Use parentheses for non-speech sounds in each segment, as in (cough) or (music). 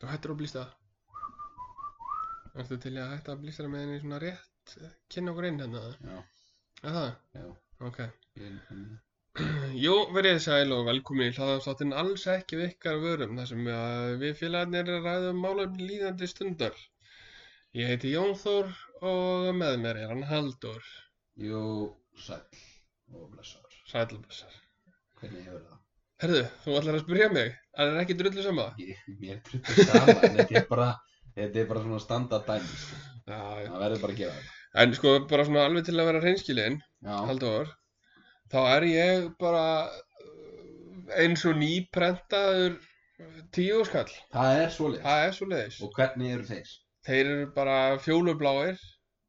Þú hættir að blístra Ertu til í að hætta að blístra með henni svona rétt eh, kynna okkur inn hérna? Já, Er það? já, Ok ég, mm, Jú, verið þið sæl og velkomin í hlaðarstáttin alls ekki við ykkar vörum þar sem að við félagarnir ræðum málefni líðandi stundar. Ég heiti Jón Þór og með mér er hann Haldur, jú, sæll og blessaður. sælblessar. Hvernig hefur það? Herðu, þú ætlar að spyrja mig, er það ekki drullu sama? Ég, mér truttur sama, en þetta er bara, þetta er bara svona standard dæmi, sko. Já, já. Það verður bara að gera þetta. En sko, bara svona alveg til að vera reynskilinn, Já, Haldur, þá er ég bara uh, eins og nýprentaður tíu skall. það er svoleiðis. Það er svo leiðis. Og hvernig eru þeir? Þeir eru bara fjólubláir.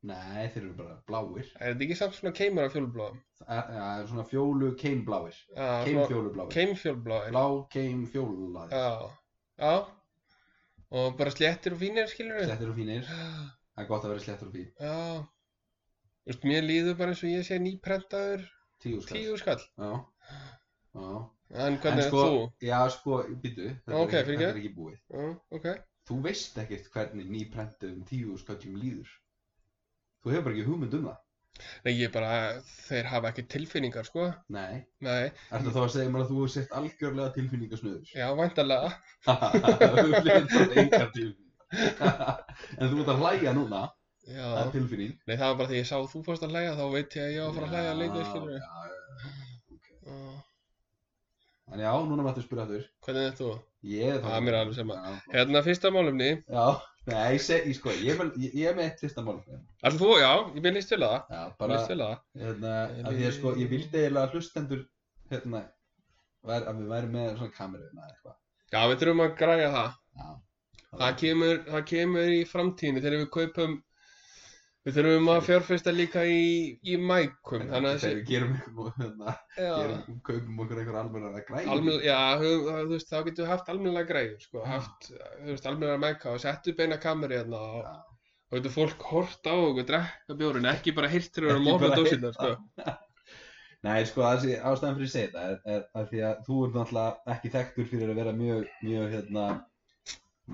Nei, þeir eru bara bláir. Er þetta ekki samt svona keimur af fjólubláðum? Það er- það er svona fjólu keimbláir. Keimfjólubláir. Keimfjólubláðir. Blá keimfjólulaðir. Já. Já. Og bara sléttir og fínir, skilur við? Slettir og fínir. Já. Það er gott að vera slettur og fín. Já. Þú veist, mér líður bara eins og ég sé nýprentaður Tíu skall. tíu skall. Já, já. En hvernig en sko, er þú? Já, sko, býtu. Þetta, Ok, er ekki- þetta fyrirgefðu. er ekki búið. Já, ok. þú veist ekkert hvernig nýprentuðum tíu sköllum líður þú hefur bara ekki hugmynd um það Nei, ég bara, þeir hafa ekki tilfinningar, sko. nei, Nei, er það þá að segja mér að þú hefur sett algjörlega (laughs) tilfinningasnöður já, væntalega. þú hefur bara engar tilfinning en þú ert að hlæja núna það Já. er tilfinning Nei, það var bara því ég sá að þú fórst að hlæja, þá veit ég að ég á að fara að hlæja lengur, skilur við? Já, já. Já. en já, núna mættu spyrja þér Hvernig er þú? ég er Það er mér alveg sama. já, Hérna, fyrsta málumni. já. Nei, ég, seg, ég, sko, ég, er, ég, ég er með eitt fyrsta mál já, Alltaf þú, já, ég byrði líst til það. bara, Líst til það. hérna, að ég, sko, ég vildi eiginlega að hlustendur hérna, ver, að við væri með svona kameru hérna eða eitthvað Já, við þurfum að græja það. Já. Það kemur, það kemur í framtíðinni þegar við kaupum, við þurfum að fjárfesta líka í, í mækum. Þannig Þannig að að þessi, við gerum eitthvað, (laughs) hérna, já, gerum, kaupum okkur einhver almennar að græða. almenn, já, höfum- þá- þú veist, þá getum við haft almennilega græjur, sko, haft, þú veist, almennilega mæka og sett upp eina kameru hérna og, Já. og getur fólk hort á okkur, drekka bjórinn, ekki bara hirt þegar við erum Ekki ofna bara dósinnar, sko. Nei, sko, það sé ástæðan fyrir að segja þetta er, er að því að þú ert náttúrulega ekki þekktur fyrir að vera mjög, mjög, hérna,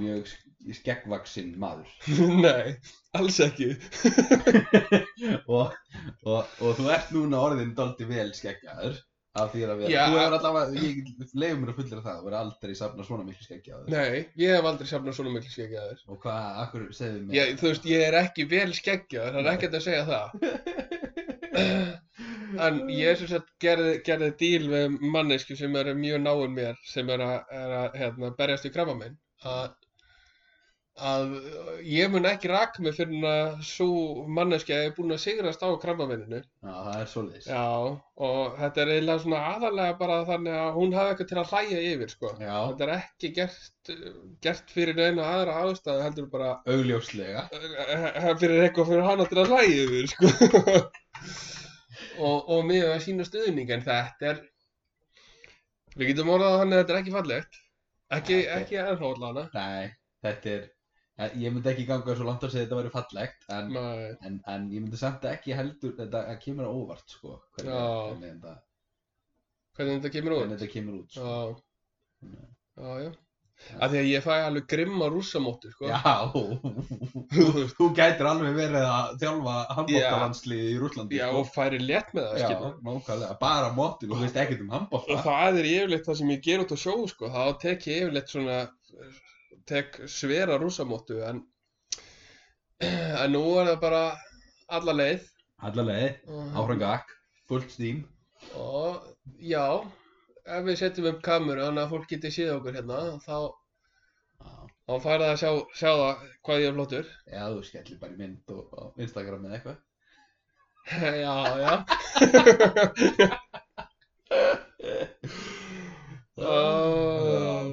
mjög skeggvaksinn maður. (laughs) Nei, alls ekki. (laughs) og, og, og þú ert núna orðin doldi vel skeggjaður af því að vera. Já. Þú hefur allavega, ég leiður mér að fullera það, þú verður aldrei safna svona miklu skeggjaður. Nei, ég hef aldrei safnað svona miklu skeggjaður. Og hvað, akkur segðu mér? Ég, þú veist, ég er ekki vel skeggjaður, það er ekkert að segja það. (laughs) En ég sem sagt gerði, gerði díl við mannesku sem eru mjög náinn mér sem eru að, er að hérna, berjast í krafa minn að, að ég mun ekki raka mig fyrir að svo manneski að ég er búin að sigrast á krafa minninu. Já, það er svolítið. Já, og þetta er eiginlega svona aðalega bara þannig að hún hafi eitthvað til að hlæja yfir, sko. Já, Þetta er ekki gert, gert fyrir neina aðra ástæðu heldur bara augljóslega. Það fyrir eitthvað fyrir hann til að hlæja yfir sko. og, og mig að sína stuðning en þetta er við getum orðað þannig að þetta er ekki fallegt ekki, Þetta er- ekki ennþá allana Nei, þetta er, eh, ég myndi ekki ganga svo langt að segja að þetta væri fallegt, en, Nei, en, en ég myndi samt ekki heldur, þetta það kemur á óvart, sko, hvernig, Já. hvernig, þetta, hvernig þetta kemur hvernig út þetta kemur út, sko. Já, já, já Af því að ég fæ alveg grimma rússamóttur sko. Já, (laughs) Þú veist, þú gætir alveg verið að þjálfa handbóltalandsliði í Rúslandi, já, sko. sko. og færi létt með það Já, skilur. nákvæmlega, bara móttin, þú veist ekkert um og handbólta. það er yfirleitt það sem ég ger út á sjó sko, þá tek ég yfirleitt svona tek svera rússamóttu en, en nú er það bara alla leið Allalegi, og, áhrangak, fullt stím. og já ef við setjum upp kameru þannig að fólk geti séð okkur hérna þá, Já, þá fær það að sjá, sjá það hvað ég er flottur (laughs) Já, þú skellir bara í mynd og, og Instagram eða eitthvað. já, já oh,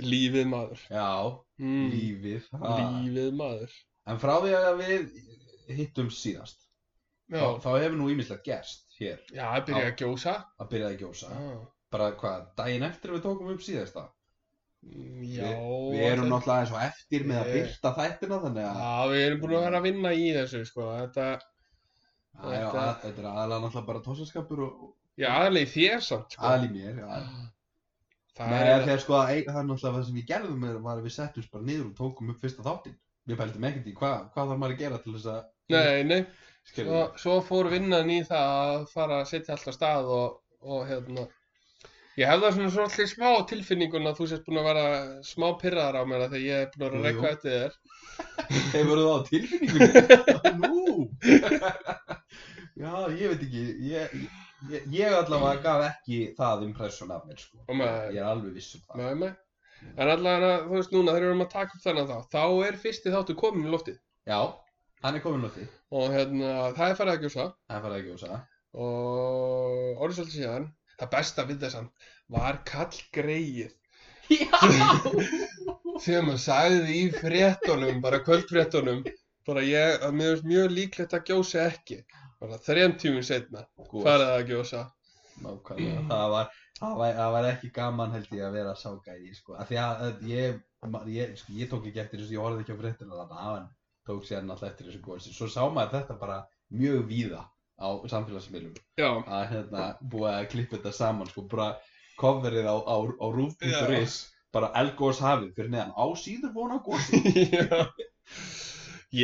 lífið maður Já, mm, lífið. ha. lífið maður En frá því að við hittum síðast, já, þá, þá hefur nú ímislegt gerst hér já, ég byrja að gjósa að byrjaði að gjósa. ah. Bara hvað, daginn eftir við tókum upp síðasta. Mm, Já, við erum þetta- náttúrulega eins og eftir með að Ég- byrta þættina þannig að Já, við erum búin að vera að vinna í þessu, sko. Þetta, Já, já, þetta- að- þetta er aðalega náttúrulega bara tósaskapur og já, aðlega í þér hérna samt, sko. aðal í mér. Já. Það Nei, er af því að sko, ein- það er náttúrulega það sem við gerðum er, var að við settumst bara niður og tókum upp fyrsta þáttinn. Við pæltum ekkert í hvað, hvað þarf maður að gera til þess að, Nei, nei, skilja, og svo fór vinnan í það að fara að setja allt á stað og, og hérna Ég hef það svona svolítið smá á tilfinningun að þú sést búin að vera smá pirraðar á mér að því að ég er búin að vera að Jú, jú. rekka eftir þér þeir voru það á tilfinningunni. Nú! Já, ég veit ekki, ég, ég, ég allavega gaf ekki það impression af mér, sko. Og maður- Ég er alveg viss um það. Nei, nei. En allavega, þú veist núna, þegar við erum að taka upp þennan þá, þá er fyrsti þáttu komin í loftið. Já, hann er komin á því, Og hérna, það er farið að gjósa hann farið ekki á það. og orðið svolítið síðan, það besta við þessan var kall greið Já! sem hann sagði í fréttunum, bara kvöldfréttunum, bara ég, að mér finnst mjög líklegt að gjósa ekki. Bara þrejum tímum setna farið að gjósa. Sko, Nákvæmlega, það var, það var, það var ekki gaman held ég að vera sá gæði, sko, af því að að ég, ma- ég, sko, ég tók ekki eftir þessu, ég horfði ekki á fréttina þarna, hann tók sér náttúrulega eftir þessu góðsi, svo sá maður þetta bara mjög víða á samfélagsmiðlum, Já, að hérna, búið að klippa þetta saman, sko, bara coverið á, á, á rúf.is, bara elgós hafið fyrir neðan, á síður vona góðsi, Já. (laughs)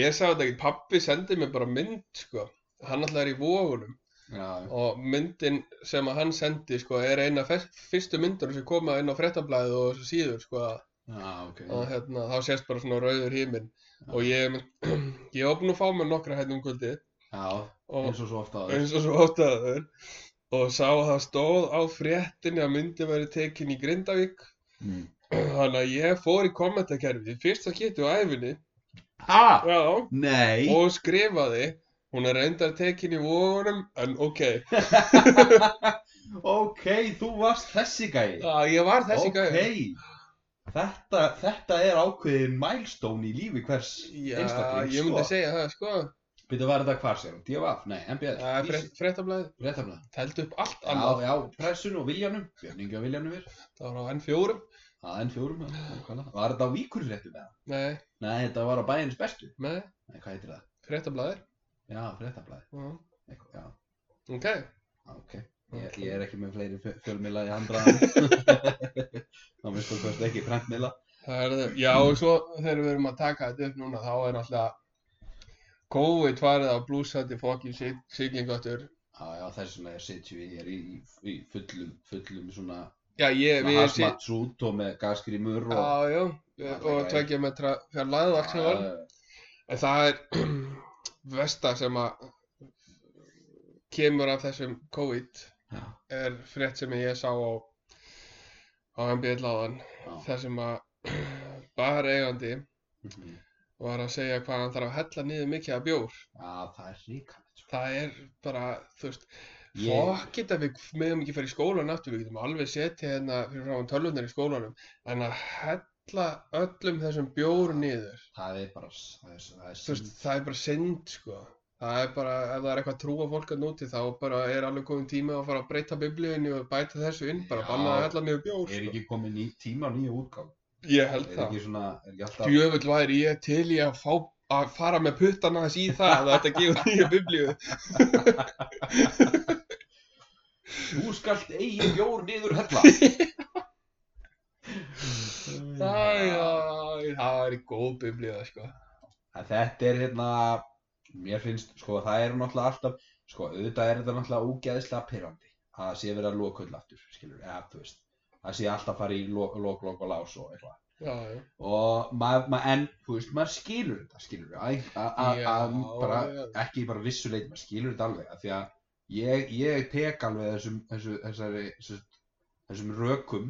Ég sagði þetta ekki, pappi sendið mér bara mynd, sko. Hann alltaf er í vógunum. já, og myndin sem að hann sendi sko, er eina fyrstu myndunum sem koma inn á frettablaðið og þessu síður sko, já, ok, og hérna, þá sést bara svona rauður híminn og ég, (clears throat) ég var búinn að fá mér nokkra hérna um kvöldið já, og eins og svo ofta aður, eins og svo ótaður og sá að það stóð á fréttinni að myndi væri tekin í Grindavík (clears throat) mm. þannig að ég fór í kommentakerfið fyrsta kitu á æfinni ha, já, nei, og skrifaði hún er reyndar tekin í vóðunum en ok, ok, þú varst þessi gæði, að ég var þessi ok, gæði Þetta, þetta er ákveðin milestone í lífi hvers Já, einstaklings ég myndi sko. segja það, sko. Býttu að vera þetta hvar sér, DFF, nei, MBL, Það er frétt, fréttablaðið, fréttaflega tældu upp allt annað. Já, já, pressun og viljanum, björningi og viljanum er Það var á N4. Það enn fjórum, já, nákvæmlega. var þetta á víkurfréttum eða? Nei, Nei, þetta var á bæðins bestu með Nei, hvað heitir það? fréttablaðið. Já, fréttaflega, Já. eitthvað, já, Ok. já, ok Ég, ég er ekki með fleiri fjö- fjölmiðla í handra (laughs) Þá minnst þú hvort ekki prentmiðla Það er það. Já, og svo þegar við erum að taka þetta upp núna, þá er alltaf COVID farið á blúsandi fokkin siglingotur. Já, já, þess vegna er sitju ég er í, í, í fullum, fullum svona Já, ég, við erum síðan. Hasmat sút og með gasgrímur og Já, hérna. já. Já, Og, það er og gæði. tveggja metra fjarlæðið allt sem var. En það er (clears throat) versta sem að kemur af þessum COVID. Já, er frétt sem ég sá á á MBL áðan já. þar sem að (clears throat) bara eigandi Mhm. var að segja hvað hann þarf að hella niður mikið af bjór já, það er ríkalegt sko. það er bara, þú veist Ég- fokkit að við meðum ekki fara í skólan aftur við getum alveg setið hérna fyrir frá tölvunar í skólanum en að hella öllum þessum bjór niður Það er bara, s- það er, s- það er þú veist, það er bara synd sko það er bara, ef það er eitthvað trúa fólk að núti þá bara er alveg komin tími að fara að breyta biblíunni og bæta þessu inn bara Já. banna að hella niður bjór er sko. ekki komið ný, tíma á nýju útgáð Ég Er held það. ekki svona, er ekki alltaf Djöfull væri ég til í að fá að fara með puttana þess í það að þetta gefur (laughs) nýja biblíu. Þú skalt eigi bjór niður hella Æj, æj, það væri góð biblíu, sko. En Þetta er hérna, mér finnst, sko það eru náttúrulega alltaf, sko auðvitað er þetta náttúrulega ógeðslega pirrandi að það sé verið að loka öll aftur, skilur, eða þú veist, það sé alltaf að fara í lok, lok, lok og lás og eitthvað. Já, já. Og maður, mað, en, þú veist, maður skilur þetta, skilur, að, að, að, að Já, bara, já. ekki bara vissu leit, maður skilur þetta alveg, af því að ég, ég tek alveg þessum, þessu, þessari, þessum, þessum rökum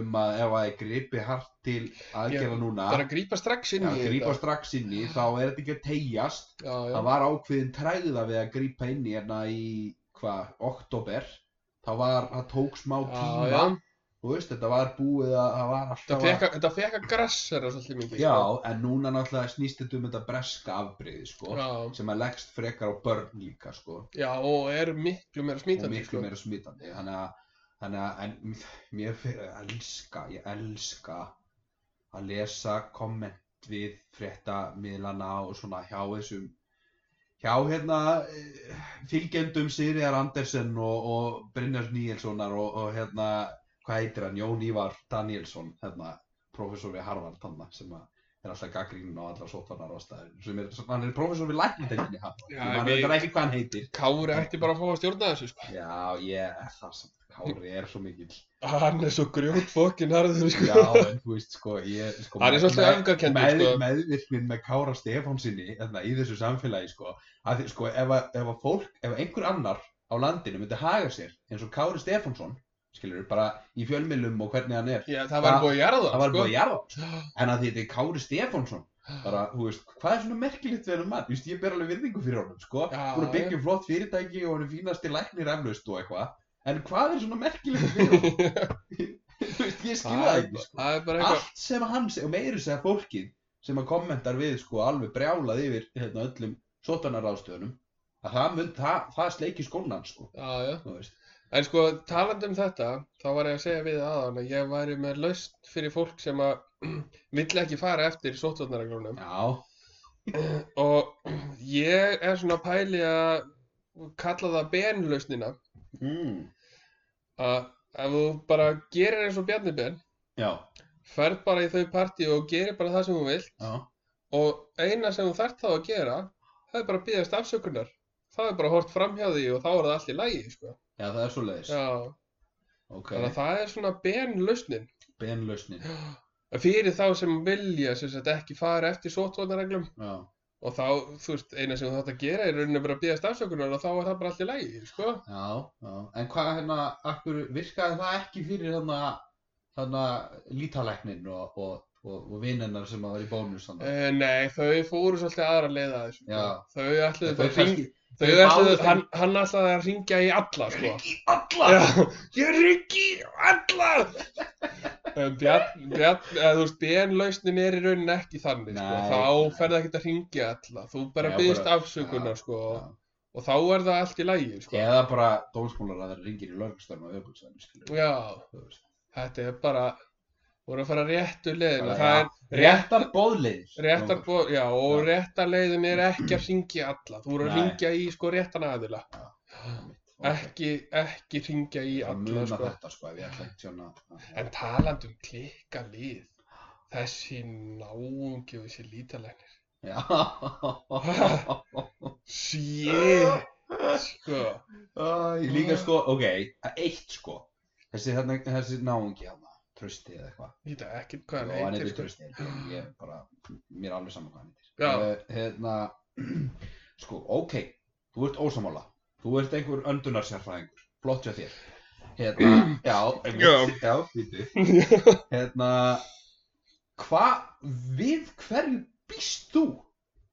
um að ef að ég gripi hart til aðgerða núna, Bara að grípa strax inn Já, í þetta. grípa strax inn í, þá er þetta ekki að tegjast. Já, já. Það var ákveðin træða við að grípa inn í hérna í, hvað, oktober. Þá var, það tók smá tíma, Já, já. þú veist, þetta var búið að, það var alltaf Þetta fekk að- Þetta fekk að grassera svolítið mikið. Já, sko. en núna náttúrulega snýst þetta um þetta breska afbreyði, sko, Já, sem að leggst frekar á börn líka, sko, já, og er miklu meira og smítandi, miklu sko. meira smítandi, þannig að, þannig að, en mér fyrir að elska, ég elska að lesa komment við fréttamiðlana og svona hjá þessum, hjá hérna eh, fylgjendum Sigriðar Andersen og, og Brynjars Níelssonar og, og hérna, hvað hvað heitir hann, Jón Ívar Danielsson, hérna, prófessor við Harvard hann, sem að er alltaf gaggrínun á alla sótvarnar ástæður, sem er, hann er prófessor við læknadeginni Harvard, Já, sem hann við- veitir ekki hvað hann heitir. Kári ætti bara að fá að stjórna þessu sko. Já, ég, það sem, Kári er svo mikill. Hann er svo grjót fokkin harður sko. Já, en þú veist, sko, ég, sko, Hann er svolítið með- öfgakenndur, með, sko. meðvirknin með Kára Stefánsinni, þarna, í þessu samfélagi, sko, að, því, sko, ef að, ef að fólk, ef einhver annar á landinu myndi haga sér, eins og Kári Stefánsson, skilur, bara í fjölmiðlum og hvernig hann er, Já, það var Það- búið að gera það það var sko. bara að jarða, en að því þetta er Kári Stefánsson, bara, þú veist, hvað er svona merkilegt við hennar mann, þú veist, ég ber alveg virðingu fyrir honum, sko, Já, hún er já. byggjum flott fyrirtæki og hann er fínasti læknir eflaust og eitthvað, en hvað er svona merkilegt (laughs) við honum, þú veist, ég skilja það, það er ekki, bara- sko það er bara eitthvað allt sem hann seg- og meiri segja fólkið sem að kommentar við sko alveg brjálað yfir hérna, öllum sótanarraðstöðunum að það, mun, það, það sleiki skónan sko Já, já. þú veist. En sko, talandi um þetta, þá var ég að segja við aðan að ég væri með lausn fyrir fólk sem að (clears throat) vill ekki fara eftir sóttvarnarreglunum já, og (clears throat) ég er svona að pæli að kalla það benlausnina mm. Hmm. að ef þú bara gerir eins og Bjarni Ben, já, ferð bara í þau partí og gerir bara það sem þú vilt já og eina sem þú þarft þá að gera, það er bara að bíðast afsökunar. Það er bara að hort framhjá því og þá er það allt í lagi, sko. já, það er svo leiðis Já, okay. þannig að það er svona benlausnin. benlausnin fyrir þá sem vilja sem sagt, ekki fara eftir sóttvarnareglum já. og þá, þú veist, eina sem þú þátt að gera er rauninni bara að bíðast afsökunar og þá er það bara allt í lagi, sko. Já, já, en hvað hérna, akkur virkaði það ekki fyrir þarna, þarna lítalæknin og, og, og, og vininnar sem að vera í bónus þarna? Uh, nei, þau fóru svolítið aðra leið að þessu. sko. Já. Þau ætluðu bara að ring... kannski- Þau þau ætluðu, báðust hann, hann ætlaði að ringja í alla, sko. Ríki alla! Já, ég ringi í alla! Um, bjarn, bjarn, eða þú veist, BN-lausnin er í rauninni ekki þannig, Nei, sko. nei. Þá ferði ekkert að ringja alla. Þú bara Já, bíðast bara- afsökunar, já, sko. já. Og þá er það allt í lagi, sko. Eða bara dómsmálar að það ringir í lögstörn og öfbúrstörn, skilur. Já. Þú veist. Þetta er bara, voru að fara réttu leiðina, Bara, það já, er rétt, Réttar bóðleiðir. réttar, bó, já, og Já. réttar leiðin er ekki að ringja alla, þú voru að Nei. ringja í sko réttan aðila, Ekki ekki, ekki ringja í að alla, muna sko. þetta, sko, ef ég ætla ekki svona. En talandi um klikka lið, þessi náungi og þessi (laughs) lítalegn, Já. (laughs) shit, sko, Æ, líka, sko, ok, eitt, sko. Þessi, þarna, þessi náungi hana, trösti eða eitthvað. ég veit ekki hvað Já, hann hann heitir, heitir sko. Trausti ég ég bara, mér er alveg saman hvað hann Já. heitir Eh, hérna (clears throat) sko, ok, þú ert ósamála þú ert einhver öndunarsjárfræðingur flott hjá þér hérna, já, einmitt, já, býtu hérna hvað, við hverju býst þú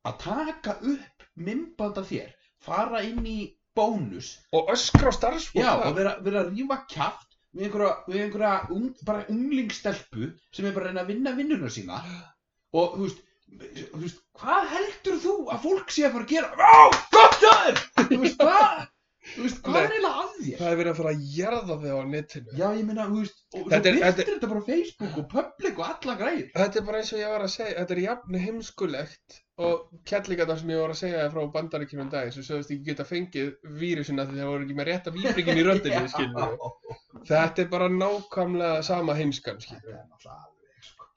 að taka upp mymband af þér fara inn í bónus Og öskra á starfsfólk, Já, það. og vera, vera að rífa kjaft við einhverja, við einhverja ung, bara unglingstelpu sem er bara að reyna að vinna vinnuna sína og þú veist, þú veist hvað heldur þú að fólk sé að fara að gera Á, gott hjá þér! Þú veist, hvað þú veist, hvað Nei. er eiginlega að þér? það er verið að fara að jarða þau á netinu. Já, ég meina, þú veist, Þetta og þú er- byrtir þetta þetta, bara á Facebook og Public og alla græðir Þetta er bara eins og ég var að segja, þetta er jafn heimskulegt og kjallingarnar sem ég var að segja frá bandaríkjunum um daginn sem sögðust ekki geta fengið vírusina því það voru ekki með rétta víbringin í röndinni, (laughs) skilur við. Þetta er bara nákvæmlega sama heimskan, skilur við. Þetta er náttúrulega alveg, sko.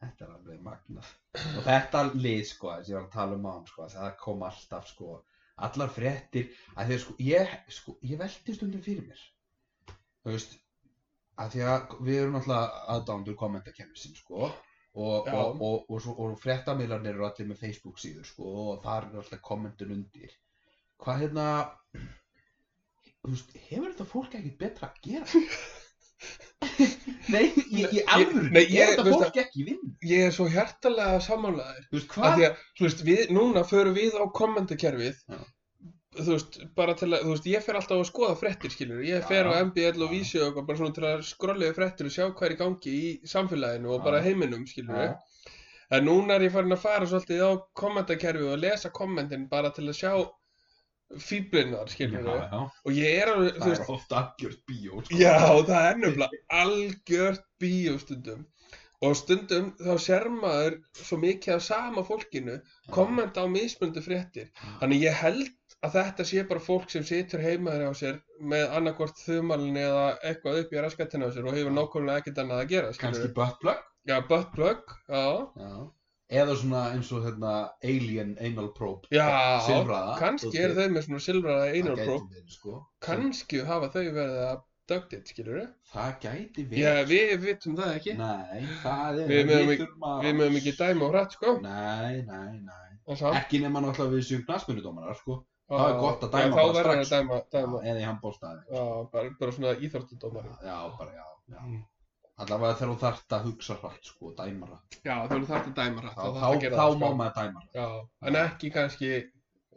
Þetta er alveg magnað. Og þetta lið, sko, sem ég var að tala um án, sko, það kom alltaf, sko, allar fréttir, að því að, sko, ég, sko, ég velti stundum fyrir mér. Þú veist, að því að við erum náttúrulega aðdándur kommentarkerfisinn, sko, og, Já. og, og, og, svo, og fréttamilarnir eru allir með Facebook síður, sko, og þar eru alltaf kommentun undir. Hvað, hérna, þú veist, hefur þetta fólk ekkert betra að gera? Nei, ég, ég alveg, Nei, nei, ég- ég, þetta veist fólk ekki vinn Ég er svo hjartalega samanlegaður. Þú veist, Af hvað? því að, þú veist, við, núna förum við á kommendakerfið, Já. þú veist, bara til að, þú veist, ég fer alltaf að skoða fréttir, skilur við. Ég Já, fer á já. MBL og Já. Vísi og eitthvað, bara svona til að skrolliðu fréttir og sjá hvað er í gangi í samfélaginu og Já. bara heiminum, skilur við. En núna er ég farin að fara svolítið á kommentakerfið og lesa kommentin bara til að sjá fíblinnar, skilur við. já, Og ég er alveg, þú það veist, er ofta afgjörð bíó sko. já, það er nefnilega algjört bíó stundum. Og stundum þá sér maður svo mikið af sama fólkinu kommenta á mismundu fréttir. Þannig ég held að þetta sé bara fólk sem situr heimaður á sér með annarkvort þumalinn eða eitthvað upp í raskatina á sér og hefur nákvæmlega ekkert annað að gera, kannski skilur. buttplug Já, butt plug, já, já. eða svona eins og hérna alien anal probe Já, silfraða kannski eru þau með svona silfraða einar próf, verið, sko. kannski hafa þau verið abducted, skilur. það gæti Já, verið við vitum það ekki, nei, það er Við mögum ekki- þurfum að- við mögum ekki dæma á hrætt, sko, nei, nei, nei en samt. ekki nema náttúrulega við séum knastminnudómarar sko Það er Já, gott að dæma já, bara Þá verður strax. að dæma, dæma. eða í handbólstaði Já, bara, bara svona íþórtundómari. já, bara já, já. Mm. allavega þegar þú þarft að hugsa hratt sko, dæma hratt Já, þú verður þetta að sko. dæma þá, rætt. þá, þá, má maður dæma hratt Já, en ekki kannski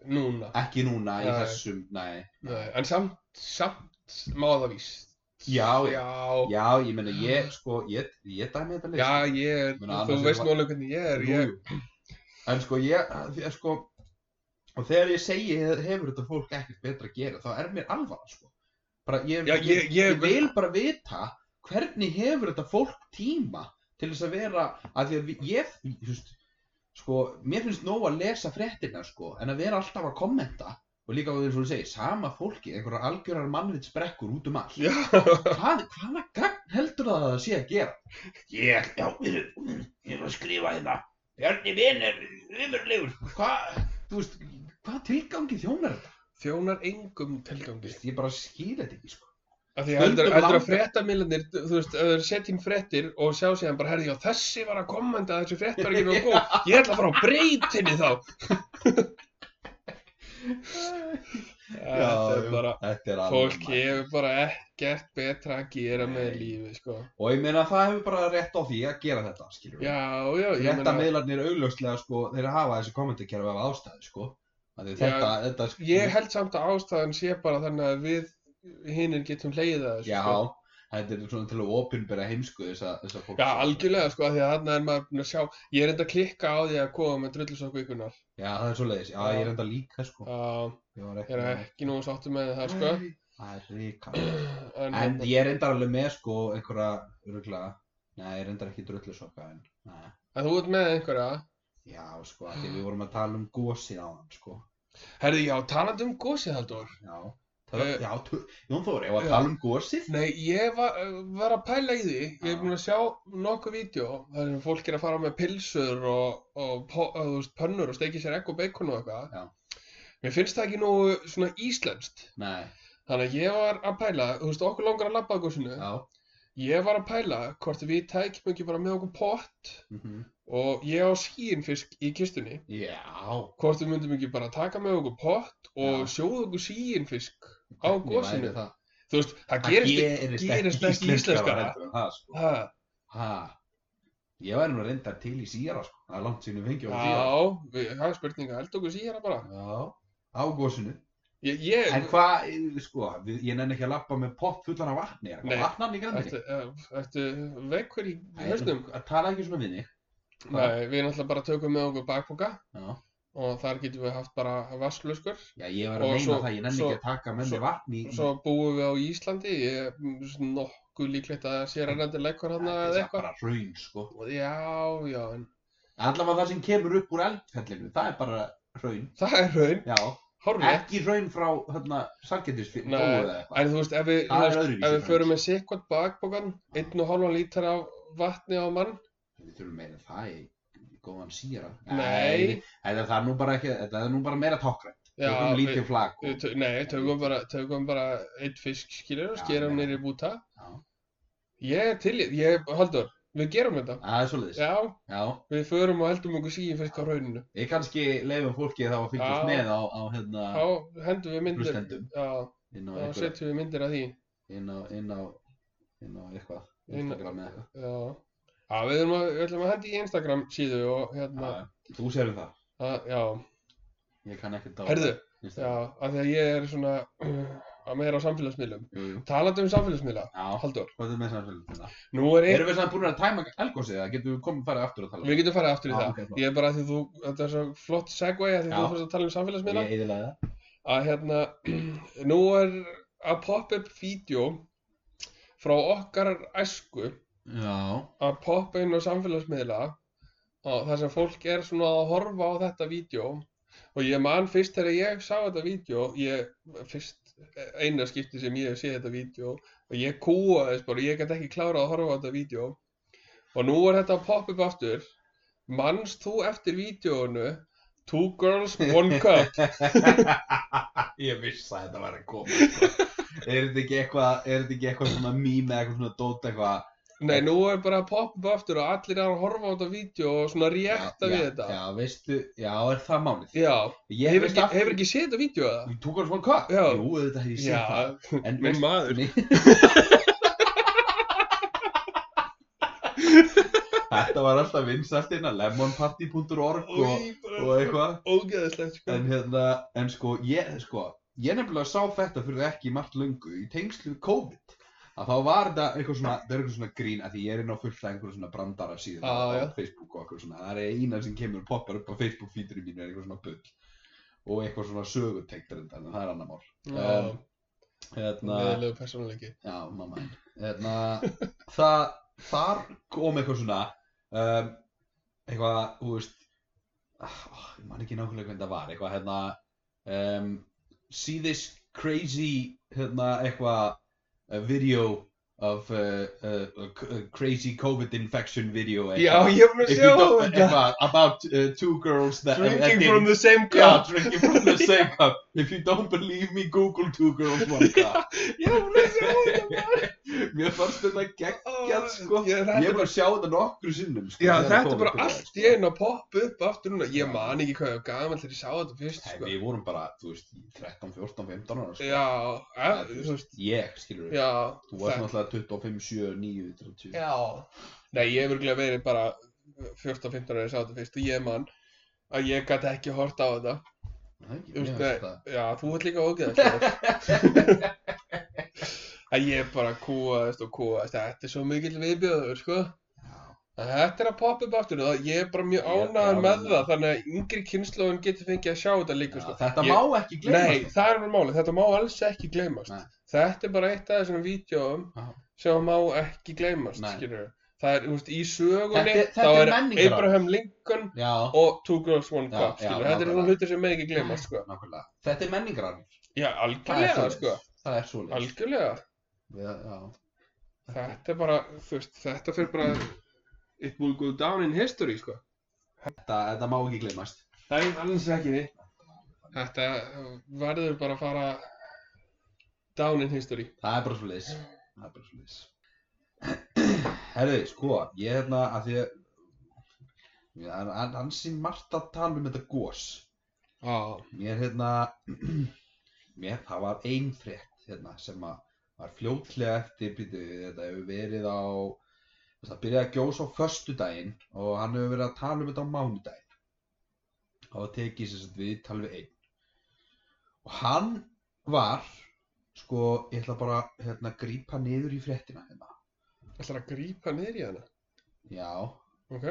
núna. ekki núna í Nei. þessum, nei Nei, en samt, samt má það víst. Já, já. já, ég meina ég, sko, ég, ég dæmi þetta leik Já, ég er, Ég meina, þú annars er veist það- nú alveg hvernig ég er. Jú, Ég, jú. En sko ég, því að sko Og þegar ég segi he- hefur þetta fólk ekkert betra að gera Þá er mér alvara sko bara, ég, Já, ég- ég- vil bara vita Hvernig hefur þetta fólk tíma Til þess að vera að Því að við- ég, just, sko Mér finnst nóg að lesa fréttina sko En að vera alltaf að kommenta Og líka á því sem þú segir, sama fólki Einhverjar algjörar mannvitsbrekkur út um allt já, hvað, hvaða gagn heldur það að það sé að gera? Ég, já, við erum, ég er að skrifa hérna. Bjarni vinn er umurlegur. Hvað, þú veist, hvað tilgangi þjónar þetta? þjónar engum Þú tilgangi. veist, ég bara skil þetta ekki, sko. Af því heldur, Stundum heldur að langar- fréttamilanir, þú þú veist, ef þeir setja inn fréttir og sjá síðan bara, herði, já, þessi var að kommenta að þessi frétt var ekki nóg (laughs) góð. Ég ætla að fara á breytinni þá. Þetta er bara, þetta er fólk alveg. hefur bara ekkert betra að gera með lífið, sko. Og ég meina það hefur bara rétt á því að gera þetta, skilur Já, já, ég Rétta meina, meðlarnir augljóslega, sko, þeir hafa þessi kommentarkerfi af ástæðu, sko. Af því Já, Þetta, þetta, sko, ég held samt að ástæðan sé bara þannig að við hinnir getum leiða þessu, Já, sko. þetta er svona til að opinbera heimsku þess að, þess að fólk. Já, algjörlega, sko, af því að þarna er maður búin að sjá, ég er enda að klikka á því að koma með drullusokkuikunar. Já, það er svo leiðis. Já, ég er enda líka, sko. Já, Ég var ég er ekki nógu sáttur með það, sko. Það er ríkalegt. En, En ég er endar alveg með sko einhverja öruglega, nei ég er endar ekki drullusokka en, nei, en þú ert með einhverja. já sko, af því við vorum að tala um gósið á hann sko, Herði, já, talandi um gósið, Haldur. já, það, Eh, já, tu- Jón Þór, ég var já. að tala um gósið? Nei, ég var, var að pæla í því, ég er Já. búin að sjá nokkuð vídeo þar sem fólk er að fara með pilsur og, og po- og, þú veist, pönnur og steikja sér egg og bacon og eitthvað. Já. Mér finnst það ekki nógu svona íslenskt, Nei, þannig að ég var að pæla, þú veist, okkur langar að labba að gósinu. já, Ég var að pæla hvort við tækjum ekki bara með okkur pott mhm, og ég á skýinfisk í kistunni. já, Hvort við myndum ekki bara taka með okkur pott og Já. sjóða okkur skýinfisk á Hvernig gósinu. væri það? Þú veist, það Það gerist gerist gerist ekki ekki íslenskara. íslenskara heldur en það sko, Ha, ha, ég væri nú reyndar til í síra sko, það er langt sínu fengið á síra, já, við, það er spurning að elda okkur síðan bara. já, á gósinu. Ég, ég, En hvað, sko, við- ég nenni ekki að lappa með pott fullan af vatni, er Nei. það vatnan í grandi? ertu, eh, ertu vekkur í höstum? Að tala ekki svona við þig. hvað? Nei, við náttúrulega bara tökum með okkur bakpoka Já, og þar getum við haft bara vasslöskur. já ég var að Og meina svo- það, ég nenni svo- ekki að taka með svo- mig vatn í... Svo búum við á Íslandi, ég er mm, nokkuð líklegt að sér að rendi leikur Þetta hana er eða samt eitthvað. bara raun, sko. Já, já, en Allavega það sem kemur upp úr eldfellinu, það er bara raun. það er raun, Já, horrið. ekki raun frá, hérna, sarkendisfólku Nei, eða eitthvað. En þú veist, ef við, Það er þú veist, öðruvísi ef við frans. förum með sikkvart bakpokan, einn og hálfan lítar af vatni á mann, Við þurfum meira en það í góðan síra. Nei. Þetta það er nú bara ekki, þetta er nú bara meira tákrænt. Já, Tökum lítið flak Við og... tö- Nei, tökum bara, tökum bara eitt fisk, skilur, Já, skerum nei. nýri búta. Já, Ég er til, í- ég, Haldur, við gerum þetta. það er svolítið. Já, Já, við förum og heldum okkur síðan fisk á rauninu. ég kannski leifum fólki þá að fylgjast Já. með á, á hérna, Þá hendum við myndir. Hlustendum. Já, inn á þá einhverja. setjum við myndir af því. inn á, inn á, inn á eitthvað, Inn- Instagram eða eitthvað. Já, já við, erum að, við ætlum að hendi í Instagram síðu og hérna, Já, Þú sérum það, að, já, ég kann ekkert á herðu, já, Instagram. af því að ég er svona (clears throat) að meira á samfélagsmiðlum. Jú, jú. Talandi um samfélagsmiðla, Já, Haldur, hvað er með samfélagina? nú er einn, Erum við samt búin að tæma elgósið eða getum við komið farið aftur að tala? við getum farið aftur í Já, það. ok, flott. Ég er bara að því þú, þetta er svo flott segway að því Já. þú fyrst að tala um samfélagsmiðla. Ég eðilaði það. að hérna, (clears throat) nú er að poppa upp vídeo frá okkar æsku Já, að poppa inn á samfélagsmiðla og þar sem fólk er svona að horfa á þetta vídeo Og ég man fyrst þegar ég sá þetta vídeo, ég, fyrst eina skipti sem ég hef séð þetta vídeo og ég kúaðist bara, ég gæti ekki klárað að horfa á þetta vídeo og nú er þetta að poppa upp aftur manst þú eftir vídeoinu Two Girls, One Cup (laughs) Ég vissi að þetta var að koma sko. (laughs) Er þetta ekki eitthvað Er þetta ekki eitthvað svona mím eða eitthvað svona dót eitthvað Nei, nú er bara að poppa upp aftur og allir er að horfa á þetta vídeo og svona rétta Já, við já, þetta Já, veistu, já, er það málið Já, Ég hefur ekki, hefur ekki séð þetta vídeo eða? Þú tók alveg svona hvað? Já. Jú, þetta hef ég séð það Já, En minn veist- maður (laughs) (laughs) Þetta var alltaf vinsælt innan lemonparty.org og, Új, bara og eitthvað Ógeðislegt sko En hérna, en sko, ég, sko, ég nefnilega sá þetta fyrir ekki margt löngu í tengslu við COVID að þá var þetta eitthvað svona, það er eitthvað svona grín að því ég er inn á fullt af einhverjum svona brandara síðan Já, á já. Facebook og eitthvað svona, það er eina sem kemur og poppar upp á Facebook feedurinn mínu er eitthvað svona bull og eitthvað svona sögutengt reyndar, en það er annar mál. Já, Hérna, meðlegu persónuleiki já, mamma henn, hérna, það, þar kom eitthvað svona, um, eitthvað, þú veist, ah, ég man ekki nákvæmlega hvernig það var, eitthvað hérna um, see this crazy hérna eitthvað uh, video of uh, uh, uh, crazy COVID infection video Já, ég var að If sjá you don't- þetta eitthvað about uh, two girls that Drinking that from didn't- the same Yeah, cup drinking from the same cup. If you don't believe me, Google two girls one (laughs) cup. Ég var að sjá þetta (laughs) maður. Mér fannst þetta gegn, Ó, Já, sko. ég- ég þetta er bara að sjá þetta nokkru sinnum. Sko, Já, þegar þetta er kom bara upp í dag, allt í sko. einu að poppa upp aftur núna. Ég Já. man ekki hvað ég var gaman þegar ég sá þetta fyrst, Nei, sko. Við vorum bara, þú veist, 13, 14, 15 ára. Sko. Já, eh, Nei, þú veist, Ég, skilur já. Þú varst það- náttúrulega 25, 7, 9, 30 Já. Nei, ég hef örgulega verið bara 14-15 ára þegar ég sá þetta fyrst og ég man að ég gæti ekki horta á þetta. Það er Þú ekki, mér veist, finnst það Já, þú ert líka ógeðast. (laughs) að ég bara kúaðist og kúaðist. Þetta er svo mikill viðbjöður, sko. Já, En Þetta er að poppa upp aftur og ég er bara mjög Ég er ánægður með ánægður. það þannig að yngri kynnslóðin getur fengið að sjá þetta líka já, sko. Þetta Ég- má ekki sko. Nei, gleymast það er alveg málið, þetta má alls ekki gleymast Nei. Þetta er bara eitt af þessum vídjóum Já. sem má ekki gleymast, Nei. skilur Það er, þú veist, í sögunni Þetta er- þetta er þá er menningararf. Abraham Lincoln Já, og Two Girls One Já, Cup, já, skilur Þetta er svona nákvæmlega. hlutir sem með ekki gleymast, sko nákvæmlega Þetta er menningararf Já, algjörlega, svoleiðis. sko Það er svoleiðis Algjörlega, Við- Já, þetta er bara, þú veist, þetta fyrir bara It will go down in history, sko Þetta, þetta má ekki gleymast Nei, alls ekki. Þetta verður bara að fara down in history. Það er bara svoleiðis Það er bara svoleiðis (clears throat) Herði, sko, ég er hérna að því að Já, hann- hann- hann sín margt að tala um þetta gos Já. Mér hérna (clears throat) Mér, það var ein frétt hérna sem að var fljótlega eftir býtu, þetta hefur verið á það byrjaði að gjósa á föstudaginn og hann hefur verið að tala um þetta á mánudaginn og það tekið sér sagt við tala við einn og hann var sko, ég ætla bara hérna grípa niður í fréttina hérna Ætlar að grípa niður í hana. já, Ok.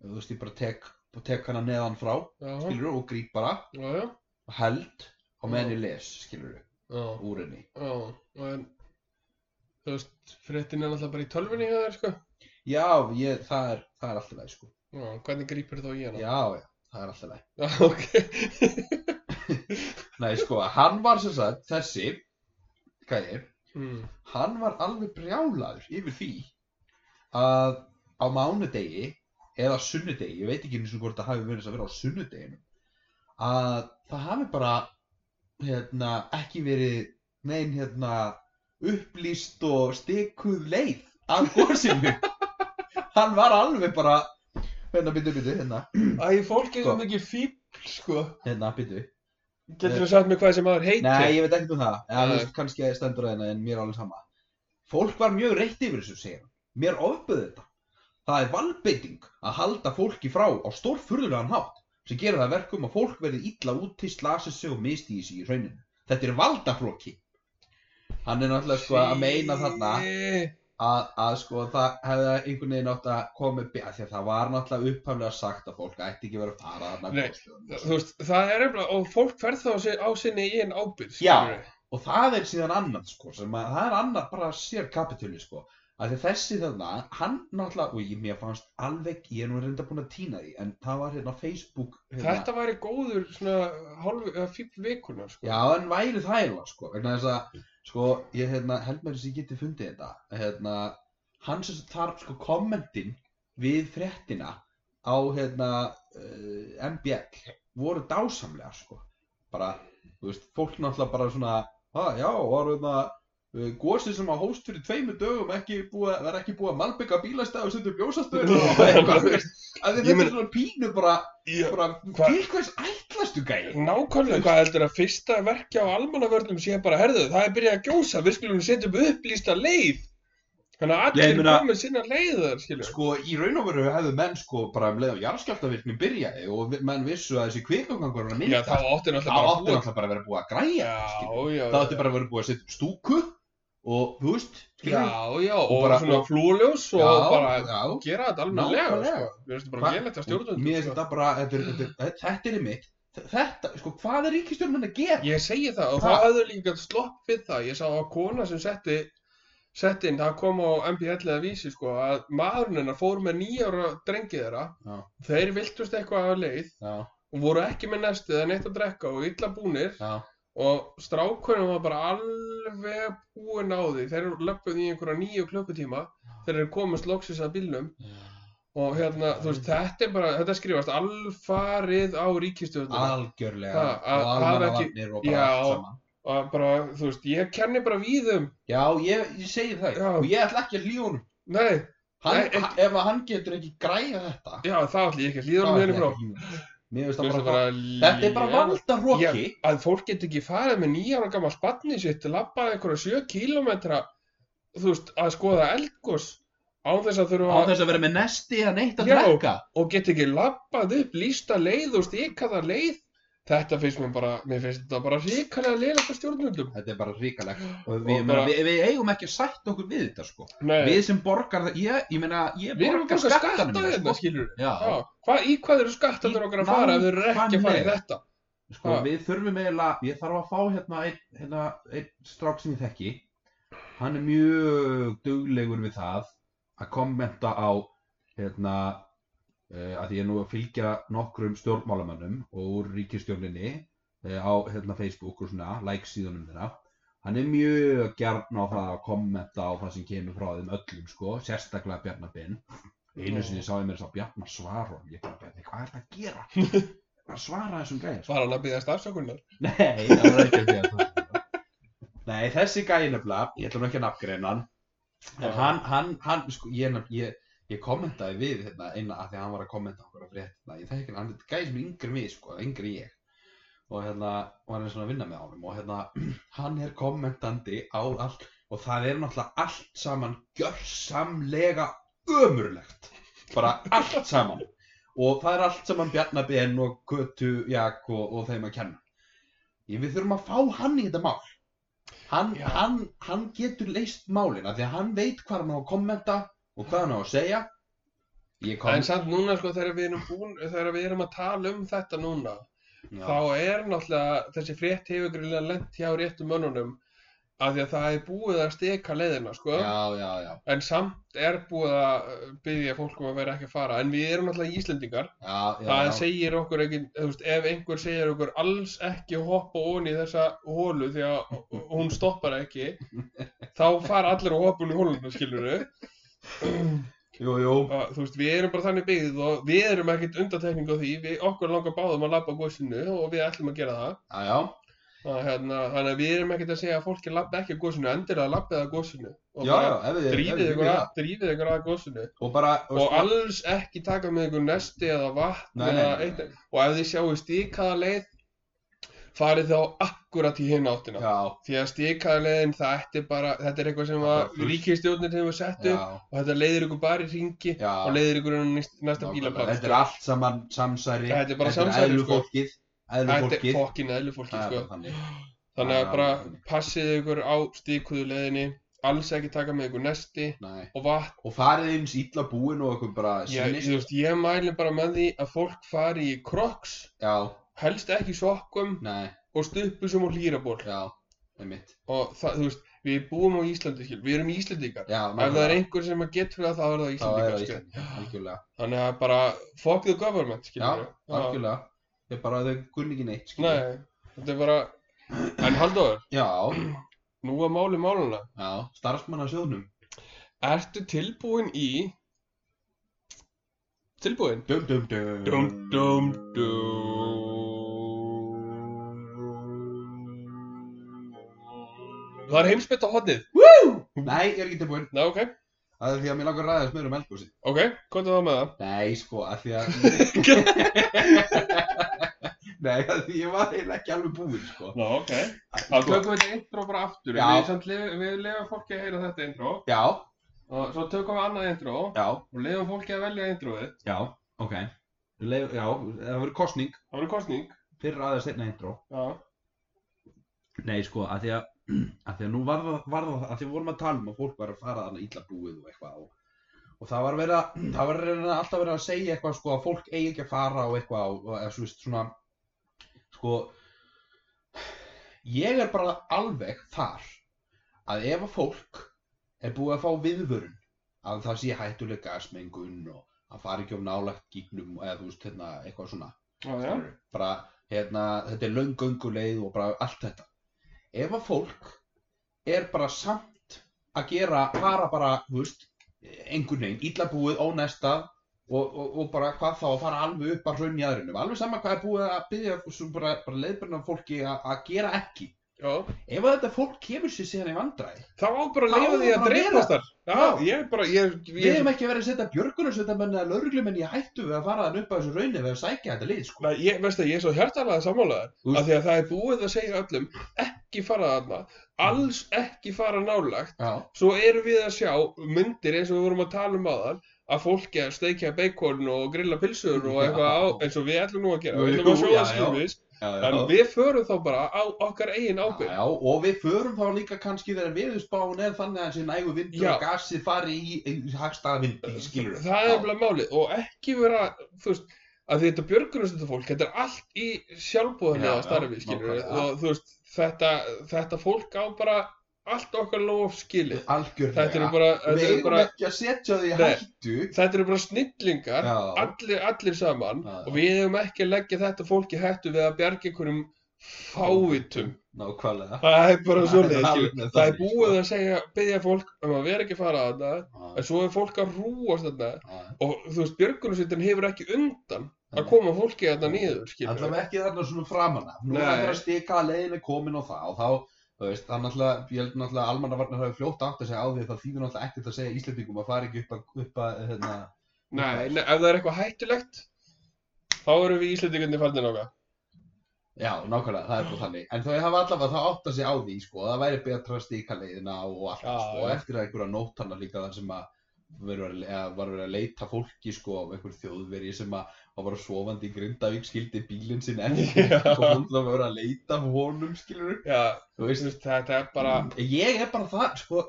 þú veist ég bara tek, bara tek hana neðan frá Já. skilur og gríp bara Já, já. og held og meðan ég les skilur Já. úr henni Já. En, þú veist, fréttin er alltaf bara í tölvunni hjá þér, sko. Já, ég, það er, það er alltaf leið, sko. Já, hvernig grípur þú í hana? Já, já, það er alltaf leið. Já, ok. Nei, sko, hann var sem sagt, þessi, gæði, mm. hann var alveg brjálaður yfir því að á mánudegi eða sunnudegi, ég veit ekki eins og hvort það hafi verið þess að vera á sunnudeginu, að það hafi bara, hérna, ekki verið nein, hérna, upplýst og stikuð leið að góðsinu. hann var alveg bara, hérna, byrju, byrju, hérna, Æ, fólk er svo Sko. mikið fíbl, sko. hérna, byrju. Getur þú sagt mér hvað sem maður heitir? Nei, ég veit ekkert um það. Ja, Nei. þú veist, kannski að stendur aðeina en mér er alveg sama. Fólk var mjög reytt yfir þessu, segir hann. Mér ofböð þetta. Það er valbeiting að halda fólki frá á stórfurðulegan hátt sem gera það að verkum að fólk verði illa úti, slasi sig og misti í sig í hrauninu. Þetta er valdaflokki. Hann er náttúrulega sko að meina þarna Sí. að, að sko það hefði einhvern veginn átt að koma upp í að því að það var náttúrulega upphaflega sagt að fólk ætti ekki verið að fara þarna að Nei. gostöðum. Þú veist, það er eflag, og fólk ferð þá á sin- á sinni í einn ábyrg, Já. skilurðu. og það er síðan annað sko, sem að það er annað bara sér kapitúli sko Af því að þessi þarna, hann náttúrulega, og ég, mér fannst alveg, ég er nú reynda búin að týna því, en það var hérna Facebook, hérna, Þetta væri góður svona hálf, eða fífl vikunar sko. já, en væri það eiginlega, sko, vegna þess að, sko, ég, hérna, held mér þess að ég geti fundið þetta, hérna, hann sem sagt þarf, sko, kommentin við fréttina á, hérna, uh, MBL voru dásamlega, sko, bara, þú veist, fólk náttúrulega bara svona, að, já, var, hérna, gósið sem að hóst fyrir tveimur dögum ekki búið, var ekki búið að malbygga bílastæð og setja upp ljósastöður (laughs) og eitthvað, þú veist, að Ég þetta meina- er svona pínu bara, Já, bara, Hva- til hvers ætlastu gæði? Nákvæmlega hvað heldur að fyrsta verkja á almannavörnum sé bara, herðu, það er byrjað að gjósa, við skulum setja upp upplýsta leið. Þannig að Ég allir meina- komið sinna leiðar, skilur. Sko, í raun og veru hefðu menn sko bara um leið og jarðskjáltavirkni byrjaði og vi- menn vissu að þessi kvikangangur var að Já, þá mynda, átti þá náttúrulega bara átti búið. náttúrulega bara að vera búið að græja, skilur. Já, já, Það átti bara að vera búið að setja upp stúku og, þú veist, Já, skilur. já, og bara- svona flúljós og Já, bara já. gera sko. þetta almennilega, Nákvæmlega. sko. Mér finnst þetta bara Hva- gélegt að stjórnum. Mér finnst þetta bara, þetta er- þetta er- þetta er mitt, þetta, sko, hvað er ríkistjórnin að gera? Ég segi það og Ha? það hafði líka gætt slopp við það. Ég sá að kona sem setti setti inn, það kom á MBL eða vísi sko, að maðurinn hennar fór með nýjára drengið þeirra, Já. þeir viltust eitthvað af leið Já, og voru ekki með nestið eða neitt að drekka og illa búnir já, og strákurinn var bara alveg búinn á því, þeir eru löppuð í einhverja nýju klukkutíma, þeir eru komist loksins að bílnum og hérna, þú veist, þetta er bara, þetta skrifast alfarið á ríkistjórnum algjörlega Ha, að- og hafa ekki- almannavarnir og bara Já. allt saman. og bara, þú veist, ég kenni bara víðum, Já, ég, ég segi það Já. og ég ætla ekki að lífa honum. nei, Hann, Nei, ekki- hann, ef að hann getur ekki græja þetta, já, það ætli ég ekki að þá hlýða um ætla henni frá. ég ekki að lífa honum. Mér finnst Mér það finnst bara, bara þetta er bara lélegt. valda roki. að fólk get ekki farið með nýjára gammal spanni sitt labbað einhverja sjö kílómetra þú veist, að skoða eldgos án þess að Á þurfa að þess að vera með nesti að neitt að Já. drekka. og get ekki labbað upp lísta leið og stikaða leið þetta finnst mér bara, mér finnst þetta bara ríkalega leilagt að stjórnvöldum Þetta er bara ríkalegt. Og Og við, og bara- við, við eigum ekki að sætta okkur við þetta, sko. Nei, Við sem borgar það, ég, ég meina, ég við erum að borgar borga skattanum skatta mína, hérna, sko. skilur Já, Já, hva, í hvað eru skattandur okkar að fara ef þeir eru ekki að fara í Nákvæmlega. þetta? sko, Ha. við þurfum eiginlega, ég þarf að fá hérna einn hérna, ein strák sem ég þekki. Hann er mjög duglegur við það að kommenta á, hérna, uh, að ég er nú að fylgja nokkrum stjórnmálamönnum og úr ríkistjórninni uh, á hérna, Facebook og svona, like síðunum þeirra. Hann er mjög gjarn á það að kommenta á það sem kemur frá þeim öllum, sko, sérstaklega Bjarnar Binn. Einu sinni sá ég mér þess að Bjarnar svara og ég bara, Bjarni, hvað er að gera? Bara svara þessum gæðir, Var hann að byggja starfsökunar? Nei, það var ekki að segja það. Nei, þessi gæi nefnilega, ég ætla nú ekki að nafngreina hann, en hann, hann, hann, sko, ég, nefn- ég, ég kommentaði við hérna einna að því að hann var að kommenta okkur á fréttina, ég þekki hann, hann er gæi sem er yngri en við, sko, yngri en ég, og hérna, og hann er svona að vinna með honum, og hérna, (clears throat) hann er kommentandi á allt, og það er náttúrulega allt saman gjörsamlega ömurlegt, bara allt saman, og það er allt saman Bjarnabén og Kötu, Jak og, og þeim að kenna. Ég, við þurfum að fá hann í þetta mál hann, Já. hann, hann getur leist málin af því að hann veit hvað hann á að kommenta og hvað hann á að segja ég kom En samt núna sko þegar við erum búin, þegar við erum að tala um þetta núna já, þá er náttúrulega þessi frétt hefur gríðlega lent hjá réttum mönnunum af því að það er búið að steka leiðina sko. já, já, já, en samt er búið að uh, biðja fólkum að vera ekki að fara en við erum náttúrulega Íslendingar já, já, það já. segir okkur ekki, þú veist, ef einhver segir okkur alls ekki að hoppa ofan í þessa hólu því að hún stoppar ekki (laughs) þá fara allir að hoppa hún í hóluna skilur Jú, jú. að, þú veist, við erum bara þannig byggð og við erum ekkert undartekning á því við, okkur langar báðum að labba á góðsynu og við ætlum að gera það já, já, Að, hérna, þannig að við erum ekkert að segja að fólki labba ekki að góðsynu, endur að labba það að góðsynu og já, já, bara ef við drífið ykkur að, drífið ykkur að góðsynu og bara, og, sko- og alls ekki taka með ykkur nesti eða vatn Nei, nei, eða nei, nei. eitt, og ef þið sjáu stíkaða leið farið þá akkurat í hinn áttina já, því að stíkaða leiðin það ætti bara, þetta er eitthvað sem Það er að fullt. ríkistjórnir hefur sett já, upp og þetta leiðir ykkur bara í ringi já og leiðir ykkur um næst- næsta sko. nákvæmlega. bílaplan þetta er allt saman samsæri Þetta er bara samsæri, eðlu sko. fólkið, eðlu þetta er fólkið fokkin eðlu fólki Það er sko. bara þannig. Þannig að Já, bara þannig. passið ykkur á stíkuðu leiðinni, alls ekki taka með ykkur nesti Nei. og vatn. og farið eins ítla búin og eitthvað bara Ég, sýnist þú veist, ég mæli bara með því að fólk fari í kroks, já, helst ekki sokkum nei, og stupusum og hlýraból. já, einmitt Og það, þú veist, við búum á Íslandi skil, við erum Íslandingar Já, ef það er sko. einhver sem að getur það þá er það þá er Íslandingar það skil. Ísland, algjörlega. þannig að bara fuck the government skil Já, algjörlega. Ég bara, þau kunni ekki neitt, skilur. nei, þetta er bara en Halldóður, Já, nú að máli máluna já, starfsmann á sjóðnum. ertu tilbúin í tilbúin Dum, dum, dum. dum dum dum það er heimsbytt á hotnið Nei, ég er ekki tilbúinn. Ná, ok, Það er því að mér langar að ræða þess meður um eldgósi. ok, hvað er það með það? Nei, sko, að því (laughs) að... Nei, að því ég var eiginlega ekki alveg búinn, sko. Ná, ok. Þá Sko, tökum við þetta intro bara aftur. Já. Við, samt, lef- við lefum fólki að heyra þetta intro. Já, Og svo tökum við annað intro já, og lefum fólki að velja introið. já, ok. Leif, já, það verður kosning Það verður kostning. fyrir aðeins einna intro. Já. Nei, sko, að því að, (clears throat) að því að nú var það, var það, að því vorum að tala um að fólk var að fara þarna illa búið og eitthvað og, og það var verið að, (clears throat) það var verið að alltaf verið að segja eitthvað, sko, að fólk eigi ekki að fara og eitthvað og, og eða, svo veist, svona, sko, ég er bara alveg þar að ef að fólk er búið að fá viðvörun að það sé hættuleg gasmengun og að fara ekki um nálægt gígnum eða, þú veist, hérna, eitthvað svona, Já, já. Skilurðu? bara hérna, þetta er löngönguleið og bara allt þetta ef að fólk er bara samt að gera fara bara, þú veist einhvern veginn, illa búið, ónesta og, og, og bara hvað þá að fara alveg upp að hraun í aðrinum, alveg sama hvað er búið að byggja svo bara, bara leiðbyrna fólki að, að gera ekki, Já. ef að þetta fólk kemur sér síðan í vandræði, Þá á bara að Þá leifa á því bara að að dreipast þar. Já, Já. ég er bara, ég, við ég, hefum ekki verið að setja björgunarsveitamenn eða lögreglumenn í hættu við að fara þann upp að þessu raunni við að sækja þetta lið, sko Nei, ég, veistu, ég er svo hjartalega sammálaðar Þú veist- af því að það er búið að segja öllum ekki fara þarna, alls ekki fara nálagt Já, svo erum við að sjá myndir eins og við vorum að tala um áðan að fólki að steikja bacon og grilla pilsur og eitthvað á, eins og við ætlum nú að gera við Jú, ætlum að sjóða já, já. skilvis já, en við förum þá bara á okkar eigin ábyrg Já, og við förum þá líka kannski þegar viðspáin er þannig að þessi nægu vindur Já. og gasið fari í, í hagstaða vindi, skilur það er bara málið og ekki vera þú veist að því þetta björgunarstöðu fólk þetta er allt í sjálfbúðanlega Já, já, starfi skilur nákvæmlega. og þú veist þetta, þetta fólk á bara allt okkar lof skilið algjörlega. þetta eru bara, Við þetta eru eigum bara ekki að setja þau í Nei. hættu. þetta eru bara snillingar Já. allir, allir saman Já, já. og við hefum ekki að leggja þetta fólki hættu við að bjarga einhverjum fávitum Nákvæmlega. það er bara Það svo er alveg leiðis það er þannig, sko. búið að segja, byggja fólk um að vera ekki að fara að þetta Já, en svo er fólk að rúast þetta já. og þú veist, björgunarsveitin hefur ekki undan að Nei. koma fólki þetta niður skilur Alltaf ekki þarna svona framan af. Nú Nei. er það að stika að leiðin er komin og það og þá, þú veist, það er náttúrulega, ég held náttúrulega að almannavarnir hafi fljótt átt að segja á því að það þýðir náttúrulega ekkert að segja Íslandingum að fara ekki upp að, upp að, hérna, nei, nei, ef það er eitthvað hættulegt þá erum við Íslandingarnir farnir nokkað Já, nákvæmlega, það er bara þannig. En þau hafa allavega þá átt að sig á því, sko, að það væri betra að stíka leiðina og allt, Já, sko, og já. eftir að einhverja nótana líka þar sem að veru að, eða var verið að leita fólki, sko, af einhver þjóðveri sem að að var sofandi í Grindavík, skildi bílinn sinn (laughs) eftir Já. og hún það verið að leita af honum, skilur já, þú þú veist. veist, þetta er bara Mm. Ég er bara það, sko,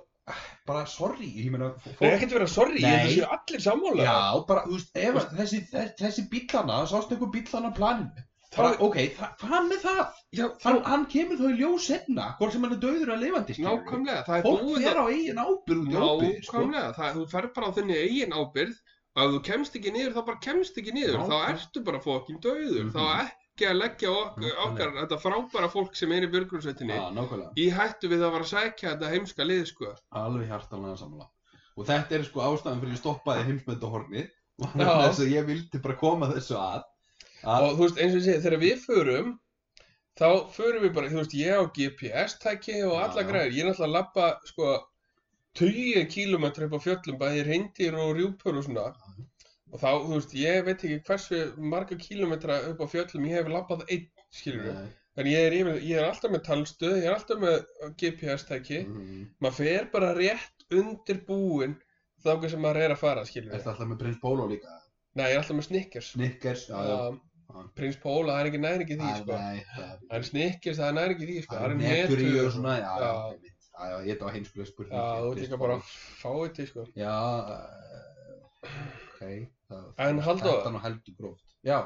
bara sorry, ég meina, það er fólk, ekkert að vera sorry, ég held Nei. að séu allir sammála já, bara, þú veist, ef að þessi, þessi bílana, sástu einhver bílana planinu, bara, það, ok, þa- hvað með það? já, hann, hann kemur þá í ljós setna hvort sem hann er dauður að lifandi skilurðu. Nákvæmlega, það er fólk búið fer á eigin ábyrð út í óbyrð sko. Nákvæmlega, það, þú fer bara á þinni eigin ábyrgð og ef þú kemst ekki niður þá bara kemst ekki niður þá Nákvæmlega. ertu ertu bara fokkin döður Mhm. þá ekki að leggja ok Nákvæmlega. okkar þetta frábæra fólk sem er í björgunsveitinni Já, nákvæmlega, í hættu við að vera að sækja þetta heimska lið sko alveg hjartalega sammála og þetta er sko ástæðan fyrir ég stoppaði heimsmyndahorni (laughs) Já. þess að ég vildi bara koma þessu að að og þú veist eins og ég segi þegar við förum þá förum við bara, þú veist ég á GPS tæki og Já, alla já. græðir ég er náttúrulega að labba sko 10 km upp á fjöllum bæði reyndir og rjúpur og svona og þá, þú veist, ég veit ekki hversu marga kilometra upp á fjöllum ég hef labbað einn, skilur við Nei, en ég er, yfir, ég er alltaf með talstöð, ég er alltaf með GPS tæki mm, maður fer bara rétt undir búin þá sem maður er að fara, skilur Ertu við alltaf með prins Bóló líka? nei, ég er alltaf með Snickers Snickers? Já, já Um, Prins Póla, það er ekki næringi því, Æ, sko nei, það- Það er snikkist, það er næri ekki því, sko. Það er netur í og svona, já, já, Já. einmitt. já, já, ég þetta var heimskulega Já, spurning þú Prins ert líka Bóló. bara fáið til, sko. Já, eh, ok. það- En Halldór? Þetta er nú heldur gróft. Já,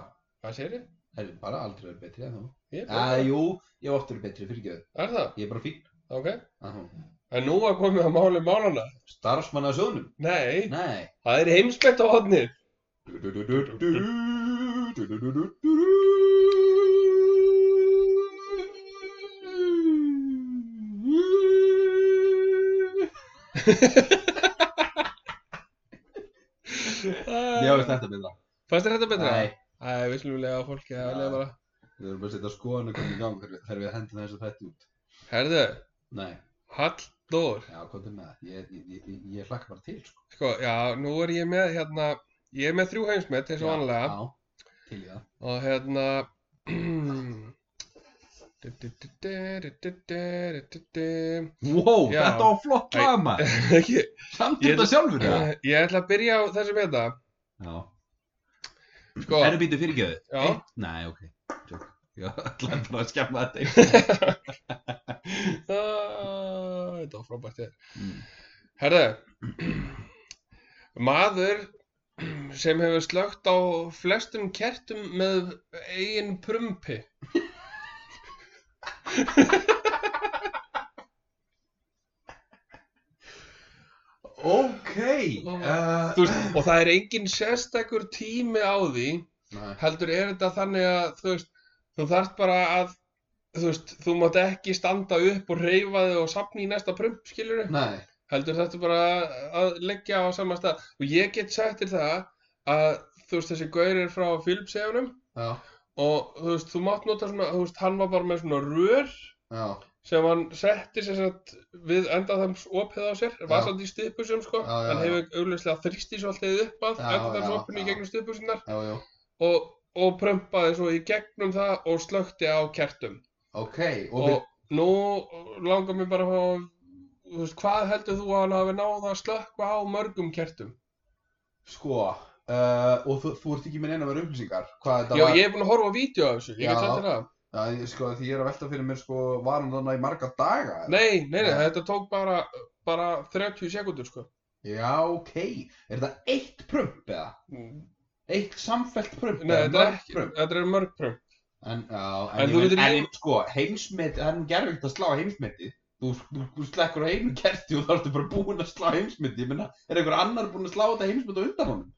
Hvað sér ég? það er bara aldrei verið betri en þú. Ég er Já, bara, jú, ég hef oft verið betri, fyrir ekki þau. er það? Ég er bara fín. Ok. Aha. En nú er komið að máli málana. Starfsmann af sjóðnum? Nei, Nei. það er heimsbyggt á hodnið. Já, veist þetta betra. Fannst þér þetta betra? Nei, Æ, við slumum lega á fólki að Já. lega bara. við erum bara að setja skoðan og koma í gang þegar við- þegar við hendum þessu þetta út. Herðu, Nei, Halldór. já, komdu með það. Ég, ég, ég, ég- ég hlakka bara til, sko. Sko, já, nú er ég með, hérna, ég er með þrjú heimsmet, eins og Já, vanlega. Já, til í það. Og hérna... (clears throat) Du-du-du-du-du-du-du-du-du. Wow, Já. þetta var flott Æ. lag, maður. (laughs) Ekki, Samt Ég- þetta sjálfur, það. Eh, ég ætla að byrja á þessum hérna. Já. Sko, Erum býtið fyrirgjöðu? Já. Nei, ok. Jók. Ég ætlaði bara að skemma þetta. Ah, þetta var frábært hér. Mm. Herðu, maður sem hefur slögt á flestum kertum með eigin prumpi. Ok. Ó. Uh, Þú veist, og það er engin sérstakur tími á því, Nei. heldur er þetta þannig að, þú veist, þú þarft bara að, þú veist, þú mátt ekki standa upp og reyfa þig og sapna í næsta prump, skilur Nei. heldur þetta bara að leggja á sama stað og ég get sagt þér það að þú veist þessi gaur er frá filmsefunum Já. og þú veist þú mátt nota svona, þú veist hann var bara með svona rör Já. sem hann setti sér satt við enda þams opið á sér, var Já. satt í stuðbusum sko, Já, já, hann já. hefur auðvitað þrýsti svolítið upp að Já, enda já, þams opinu já. í gegnum stuðbusunar Já, já. og, og prömpaði svo í gegnum það og slökti á kertum Ok. Og, og, við... nú langar mér bara að fá þú veist, hvað heldur þú að hann hafi náð að slökka á mörgum kertum? sko. Uh, og þú, þú ert ekki með neina verið upplýsingar. Hvað þetta Já, var? ég hef búin að horfa á vídeo af þessu, ég Já. get sagt þér það. Já, ég- sko, því ég er að velta fyrir mér, sko, var hann þarna í marga daga? eða? Nei, nei, nei, Nei. þetta tók bara, bara 30 sekundur, sko. Já, ok. Er þetta eitt prump, eða? Mm. Nei, Eitt samfellt prump, þetta er mörg ekki, prump? þetta er mörg prömp. En, já, En en, þú en, getur en, ekki- en sko, heimsmet, það er nú gerfitt að slá heimsmetið. Þú, þú, þú slekkur á einu kerti og þá ertu bara búinn að slá heimsmetið. Ég meina, er einhver annar búinn að slá þetta heimsmetið undan honum?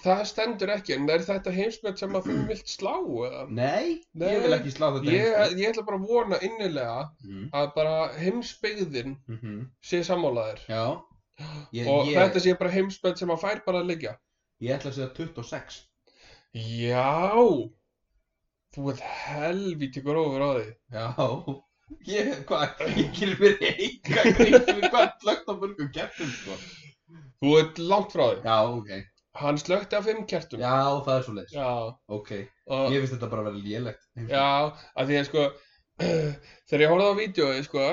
Það stendur ekki, en er þetta heimsmet sem að þú vilt slá, eða? Nei, Nei, ég vil ekki slá þetta Ég, heimsmetið. ég ætla bara að vona innilega Mm að bara heimsbyggðin -hmm. sé sammálaðir. Já, ég, Og ég, þetta sé bara heimsmet sem að fær bara að liggja. ég ætla að segja 26. Já, þú ert helvíti grófur á því. Já, ég, hvað, ég gerir mér enga grein fyrir hvað er slögt á mörgum kertum, sko. Þú ert langt frá því. Já, ok. Hann slökti á fimm kertum. Já, það er svo leiðis. Já, Ok, og, ég finnst þetta bara að vera lélegt. já, að því að sko, (clears throat) þegar ég horfði á vídjóið, sko,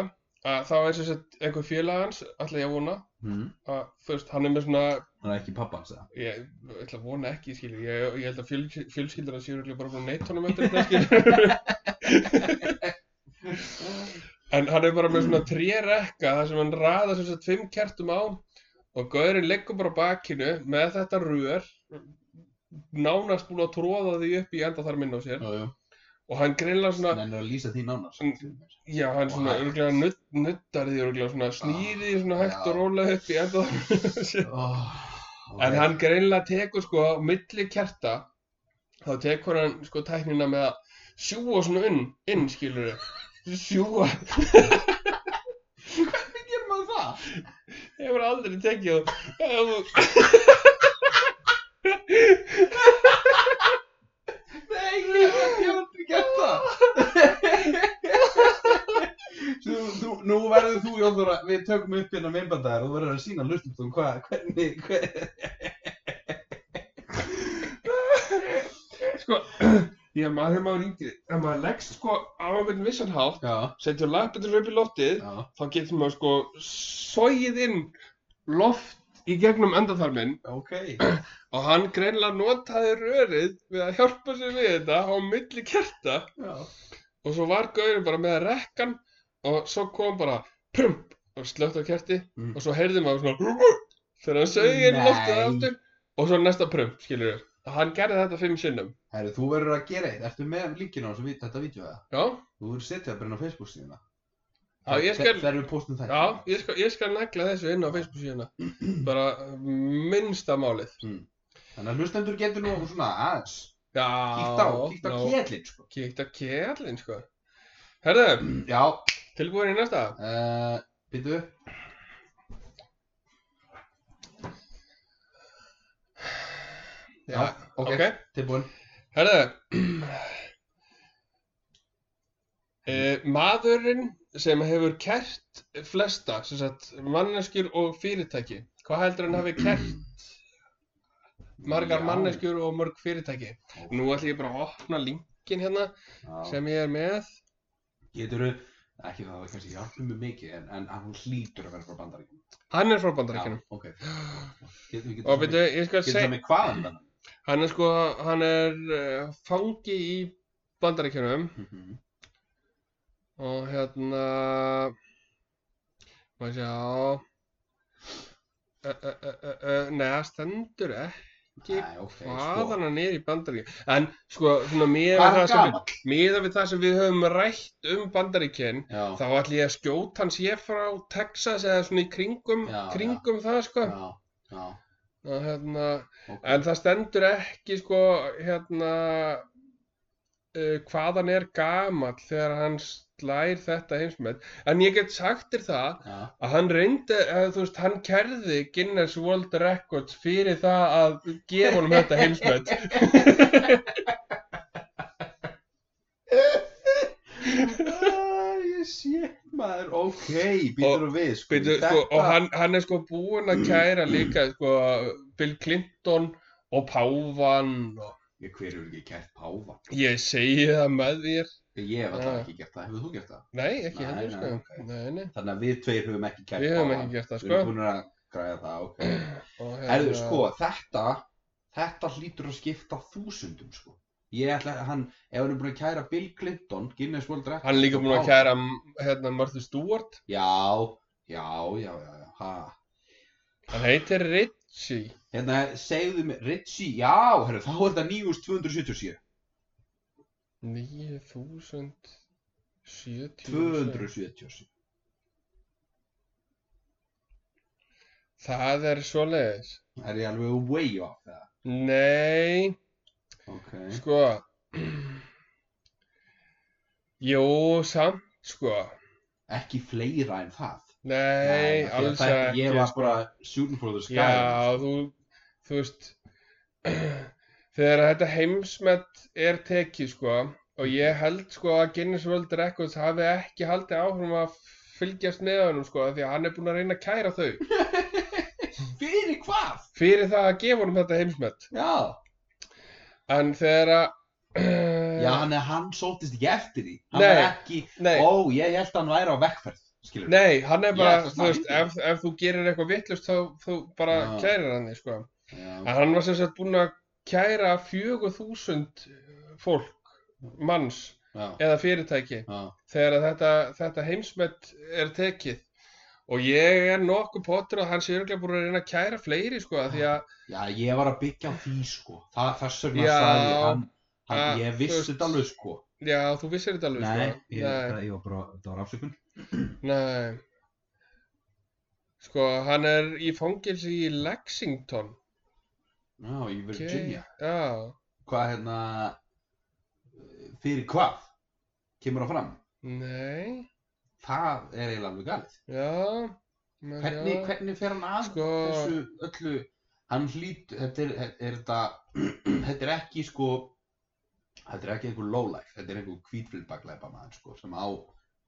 að þá er sem sagt einhver félag hans, ætla ég að vona, Hmm. að þú veist, hann er með svona, Það er ekki pappans, eða? ég ég ætla að vona ekki, skilur, ég, ég held að fjöl, fjölskyldur hans séu örugglega bara búin að neitt honum eftir þetta, skilur, en hann er bara með svona trérekka, þar sem hann raðar sem sagt fimm kertum á, og gaurinn leggur bara á bakinu með þetta rör, nánast búin að tróða því upp í enda þar minn á sér, Jú, jú. og hann greinlega svona, Þannig er að lýsa því nánar. Mm. Já, hann Og svona hægt. örglega nudd, nuddar því örglega svona snýði því svona hægt já. og rólega upp í enda þar. Oh, ok. En hann greinlega tekur sko á milli kerta, þá tekur hann sko tæknina með að sjúa svona inn, inn skilur þau. Sjúa, Hvernig gerir maður það? ég hefur aldrei tekið það. Ef þú- Nei, ég hef ég hef aldrei gert það. (laughs) Þú, þú, nú verður þú, Jóþóra, við tökum upp hérna minnbandar og þú verður að sína hlustum hvað, hvernig, hvernig. Sko, ég maður þegar maður yngri, ef maður leggst sko á einhvern vissan hátt, Já, setjur lagbettur upp í loftið, já. þá getur maður sko sóið inn loft í gegnum endaþarminn Ok. Og hann greinlega notaði rörið við að hjálpa sér við þetta á milli kerta Já. og svo var gaurinn bara með rekkan og svo kom bara prump og slögt á kerti Mm. og svo heyrði maður svona þegar hann sögði inn Nei. loftið aftur og svo næsta prump, skilur við. Hann gerði þetta fimm sinnum. Herru, þú verður að gera eitt. Ertu með linkinu á þessu, ví- þetta vídeo eða? Já, Þú verður setjað bara inn á Facebook síðuna. Já, ég skal- Þegar við postum þetta. Já, ég skal, ég skal negla þessu inn á Facebook síðuna bara minnsta málið Þannig að hlustendur getur nú svona aðeins. Já, Kíkt á, kíkt á ná, kjellin, sko. kíkt á kjærlinn sko Herðu, Já, tilbúin í næsta uh, býtu. Já, ok, ok. tilbúin. Herðu uh, Maðurinn sem hefur kert flesta, sem sagt manneskjur og fyrirtæki Hvað heldur hann hafi kert margar Já, manneskjur og mörg fyrirtæki? Ó. Nú ætlum ég bara að opna linkin hérna já. sem ég er með Geturðu, ekki það var kannski hjálpum mjög mikið, en, en hann hlýtur að vera frá bandaríkjum. Hann er frá bandaríkjunum ok. Getur, getur, Og veitu, ég skal Getur það segja með hvaðan þannig? Hann er sko, hann er uh, fangi í bandaríkjunum Mhm. Og hérna Má sjá Eh, Ö, ö, ö, ö, ö, Nei, það stendur ekki Nei, ok, sko. hvaðan hann er í bandaríkjunum En sko, svona miða Hvað við, er það sem við, gaman? miða við það sem við höfum rætt um bandaríkjun Já, Þá ætlum ég að skjóta hans ég frá Texas eða svona í kringum, Já, já. kringum það sko já, já, Og hérna, ok. En það stendur ekki sko hérna uh, hvaðan er gamall þegar hann slær þetta heimsmet. En ég get sagt þér það Já, að hann reyndi, að, þú veist, hann kerði Guinness World Records fyrir það að gefa honum þetta (laughs) heimsmet. Æ, ég sé maður, ok, býtur og við sko, Beidu, sko, og hann, hann er sko búinn að kæra líka sko, Bill Clinton og Pávan og ég, hver eru ekki kært páfa ég segi það með þér. ég hef alltaf Já. ekki gert það, hefur þú gert það? Nei, ekki Nei, henni nei, sko. ok. Nei, nei, þannig að við tveir höfum ekki kært við höfum ekki gert það við sko. Eh, erum búin að græða það, ok Og erðu hérna- sko, þetta þetta hlýtur að skipta þúsundum sko ég ætla að hann, ef hann er búin að kæra Bill Clinton, Guinness World Records Hann er líka og búinn að páfa- kæra hérna, Martha Stewart. já, já, já, já, já, ha Hann heitir Richie. hérna, segðu mér, Ritchie, já, herru, þá er þetta 9277 9070. 277 Það er svoleiðis. Er ég alveg way off það? Nei, Ok. sko. Jú, samt, sko. Ekki fleira en það? Nei, af því að alls þetta- ekki. Ég var sko. bara shooting for the sky. Já, þú, þú veist, (clears throat) þegar þetta heimsmet er tekið, sko, og ég held, sko, að Guinness World Records hafi ekki haldið áfram að fylgjast með honum, sko, af því að hann er búinn að reyna að kæra þau Fyrir hvað? fyrir það að gefa honum þetta heimsmet. Já. En þegar að, (clears throat) Já, hann, er- hann sótist ekki eftir því. Hann Eh, Nei. var ekki, nei, ó, ég held að hann væri á vekkferð, skilur við. nei, hann er Ég bara, ætla að þú veist, snæða. ef, ef þú gerir eitthvað vittlust, þá þú bara Já. kærir hann þig, sko. Já, En hann var sem sagt búinn að kæra 4000 fólk, manns, já, eða fyrirtæki já. þegar að þetta, þetta heimsmet er tekið og ég er nokkuð potur og hann sé örgulega búin að reyna að kæra fleiri sko af því að Já, ég var að byggja á því, sko. Þa, þess vegna Já. sagði ég, hann, hann, Ja, ég þú vissi veist- þetta alveg, sko. já þú vissir þetta alveg Nei, sko ég, nei, það- ég var bara, það var afsökun. nei sko hann er í fangilsi í Lexington Já, í Virginia. já Hvað, hérna, fyrir hvað? Kemur það fram? nei Það er eiginlega alveg galið. já maður Hvernig, já. hvernig fer hann að Sko- þessu öllu, hann hlýt, þetta er, er þetta, (clears throat) þetta er ekki sko, þetta er ekki einhver lowlife, þetta er einhver kvítflipaglæpa maður sko, sem á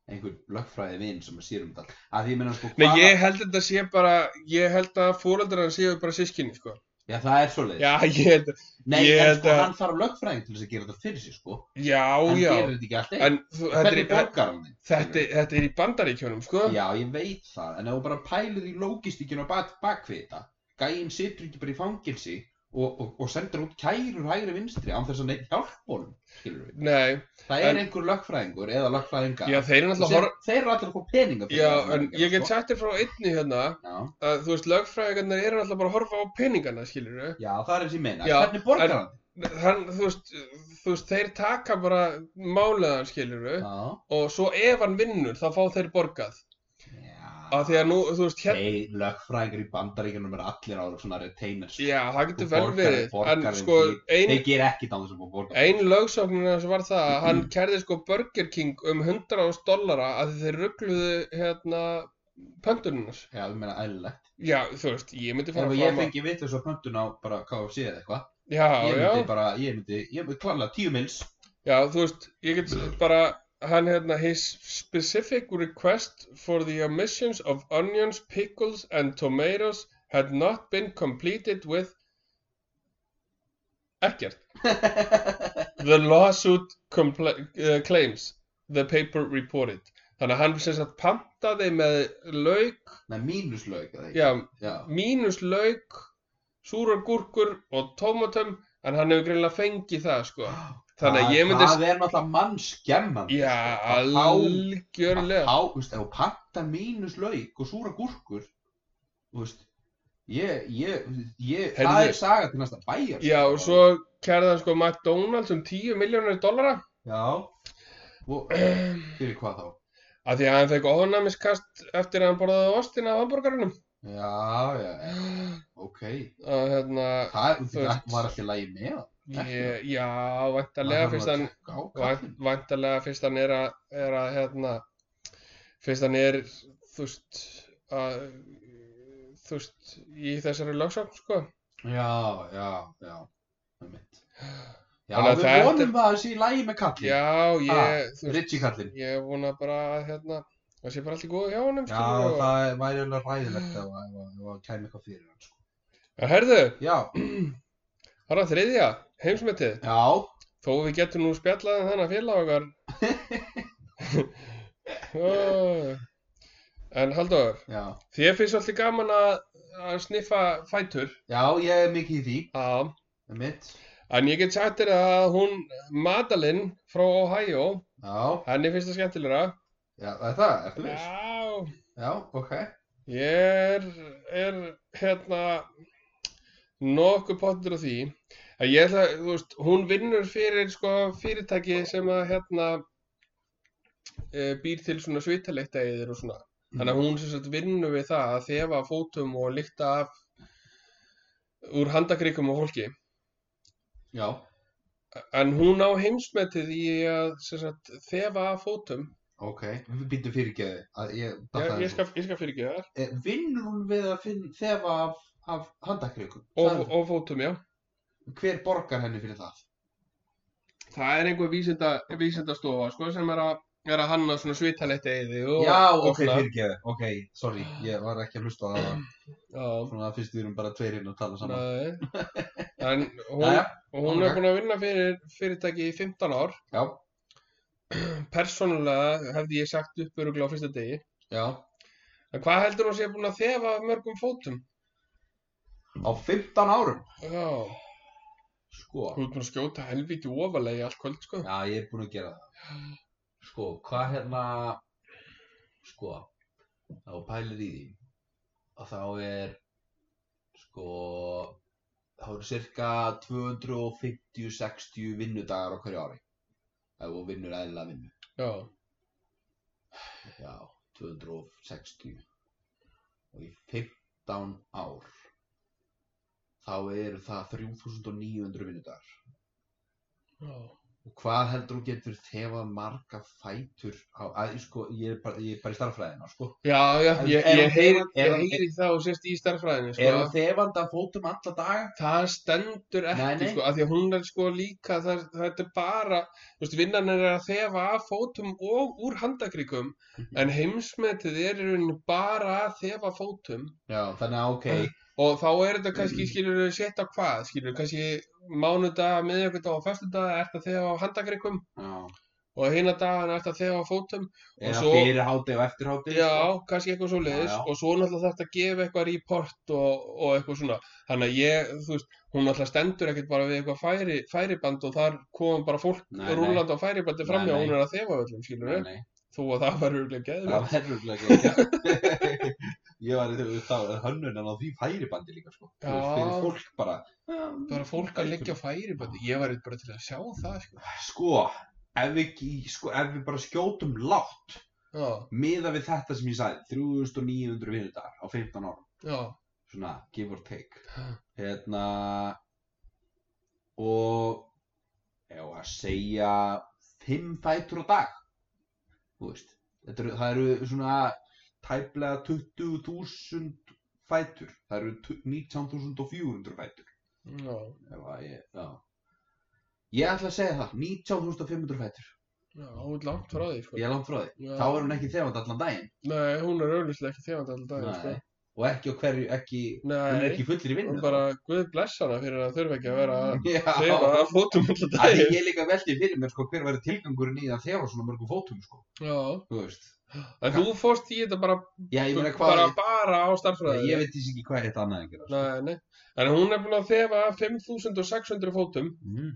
einhver lögfræði vinn sem að sér um þetta. Að því ég meina sko, nei ég held að þetta sé bara ég held að fóreldrar hans séu bara sískinni sko já það er svoleiðis. já ég held að Nei, ég en held sko, að- hann þarf lögfræðing til þess að gera þetta fyrir sig sko, já hann já gerir þetta ekki alltaf einn. en þú, þetta er Hvernig borgar hann þig? Þetta, þetta er í bandaríkjónum, sko? Já, ég veit það, en ef þú bara pælir í lógistíkinu á bak, bakvið þetta, gæinn situr ekki bara í fangelsi og, og, og sendur út kærur hægri vinstri án þess að neitt hjálpbólum, skilur við. Nei, Það er En- einhver lögfræðingur eða lögfræðinga. já, þeir eru sem, náttúrulega horf... Þeir eru allir að fá peninga Já, en ég get sagt... sagt þér frá einni hérna Já, að þú veist, lögfræðingarnir eru náttúrulega bara að horfa á peningana, skilur já, það er þessi meina. Já, Hvernig borgar en- hann? hann, þú veist, þú veist, þeir taka bara máliðan, skilur við, Já. og svo ef hann vinnur, þá fá þeir borgað. Af því að nú, þú veist, hérna, Þeir lögfræðingar í bandaríkjunum er allir á svona retainers. sko. já, það getur Þú vel borgar- verið, borgar en þeim sko, fyrir- ein, Þeir ger ekkert á þessum að borga. ein lögsóknin hans var það að Mm-hmm. hann kærði sko Burger King um 100.000 dollara að þeir ruggluðu, hérna, pöntununars. Já, ég meina eðlilegt. Já, þú veist, ég myndi fara Ef fram ég að... fengi vitt þessu pöntun á bara KFC eða eitthvað, Já, ég já. myndi bara, ég myndi, ég myndi klarlega tíu (laughs) mils. Já, þú veist, ég get bara, hann hérna, his specific request for the omissions of onions, pickles and tomatoes had not been completed with ekkert. The lawsuit compla- uh, claims, the paper reported. Þannig að hann sem sagt pantaði með lauk, Nei, mínuslaug, eða ekki? já, Já. mínus lauk, súrar gúrkur og tómatum, en hann hefur greinlega fengið það, sko. Þannig að Það- ég myndi Það er náttúrulega mannskemmandi. Já, sko. Að fá- algjörlega. Há, þú veist, ef þú pantar mínuslaug og súra gúrkur, þú veist, ég, ég, ég, það Heyrðu. er saga til næsta bæjar. Já, sko. og svo kærði hann sko McDonalds um 10 miljónir dollara Já, og fyrir hvað þá? af því að hann fekk ofnæmiskast eftir að hann borðaði ostina á hambúrgarunum. Já, já, já, ok. Og hérna, Það Þú veist- það var alltaf lægi með það. ég, já, væntalega fyrst hann, vænt- hann... væntanlega fyrst hann er að, er að, hérna, fyrst hann er, þú veist, að, þú veist, í þessari lögsögn, sko. Já, já, já, með mitt. Já, Þannig að við þetta- vonum að það sé í lægi með kallin. Já, ég, þú veist, Ritchie kallin. ég vona bara að, hérna, það sé bara allt í góðu hjá honum, Já, skilurðu, og- það væri alveg ræðilegt ef að- ef að ef að kæmi eitthvað fyrir hann, sko. En herðu, Já, það er að þriðja, heimsmetið, já, þó við getum nú spjallað um þennan félag okkar. (laughs) Ó. en Halldóður, já. þér finnst alltaf gaman að, að sniffa fætur, Já, ég er mikið í því, að, með mitt. en ég get sagt þér að hún Madalyn frá Ohio, Já, henni finnst það skemmtilegra. já, það er það, ertu viss? Já, Já, ok. ég er, er hérna nokkuð pottur á því. En ég ætla, þú veist, hún vinnur fyrir sko fyrirtæki sem að hérna e, býr til svona svitalyktæðir og svona. Þannig að hún sem sagt vinnur við það að þefa af fótum og lykta af úr handakrikum og fólki. Já, En hún á heimsmetið í að sem sagt þefa af fótum. ok. Við býttum fyrirgeði. að Ég, Ég, dattaði ég skal, ég skal fyrirgeða þar. Eh, vinnur hún við að finn, þefa af, af handakrikum? Og, og fótum, já. Hver borgar henni fyrir það? Það er einhver vísinda, vísindastofa sko sem er að, er að hanna svona svitalyktæði og... Já, og ok, svona. fyrirgeðu, ok, sorry, ég var ekki að hlusta á það, Já, svona fyrst við erum bara tveir hérna að tala saman. (laughs) nei. En hún, Jæja, hún er ok. búin að vinna fyrir fyrirtæki í 15 ár. já, Persónulega hefði ég sagt upp öruglega á fyrsta degi. já, En hvað heldur hún sé búin að þefa af mörgum fótum? á 15 árum, Já, sko, hún er búin að skjóta helviti ofalega í allt kvöld, sko. já, ég er búin að gera það. Sko, hvað hérna, sko, þá pælir í því, að þá er, sko, þá eru cirka 250-60 vinnudagar á hverju ári, ef þú vinnur eðlilega vinnu. Já, Já, 260 og í 15 ár þá eru það 3900 vinnudagar já, og hvað heldur þú getur þefað marga fætur á, að, sko, ég er bara, ég er bara í starffræðina sko. já, já En ég, er hún ég, heyri, þefandi- er ég hún- heyri það og sérst í starffræðinu, er sko. það þefandi að fótum alla daga? Það stendur ekki, Nei, nei. sko, af því að hún er sko líka, það, þetta er bara, þú veist, vinnan er að þefa af fótum og úr handakrikum, Mhm. en heimsmetið er í rauninni bara að þefa af fótum Já, þannig að ok og þá er þetta kannski, Mhm. skilur við, á hvað, skilur við, kannski mánudag, miðjöggundag og föstudag er þetta þefa af handakrikum Já, og hina dagana er þetta þefa af fótum eða svo- fyrir háti og eftir sko. háti Já, kannski eitthvað svo leiðis Já, já. og svo náttúrulega þetta að gefa eitthvað report og, og eitthvað svona þannig að ég, þú veist, hún náttúrulega stendur ekkert bara við eitthvað færi, færiband og þar kom bara fólk Nei, nei. rúlandi á færibandi Nei, framjá nei. hún er að þefa öllum, skilur Nei, við nei, þú og það var örgulega geðið það verður ekki (laughs) ég var í þegar þá er hönnunan á því færibandi líka sko Þú veist, Já. fyrir fólk bara bara fólk að leggja á færibandi ég var bara til að sjá það sko. sko ef við, ekki- sko, ef við bara skjótum látt já, miða við þetta sem ég sagði 3900 vinnudagar á 15 árum já, svona give or take hérna og ef að segja 5 fætur á dag þú veist þetta eru, það eru svona tæplega 20.000 fætur það eru tu- 19.400 fætur já, ef að ég, já ég ætla að segja það, 19.500 fætur já, hún er langt frá því sko. ég er langt frá því, Já. þá er hún ekki þefand allan daginn nei, hún er auðvitað ekki þefandi alltaf daginn sko. Nei. og ekki á hverju, ekki hún er nei, ekki fullir í hún vinnu bara guð bless hana fyrir að þurfa ekki að vera að þefa já, að fótum alltaf að daginn ég er líka veldi fyrir mér sko hver verður tilgangurinn í að þefa svona mörgum fótum sko, já, þú veist en þú fórst í þetta bara Já, ég meina hvað bara, bara á Nei, starffræði Ég veit þess ekki hvað er þetta annað sko. en gera Nei, nei. En hún er búin að þefa 5600 fótum. mm.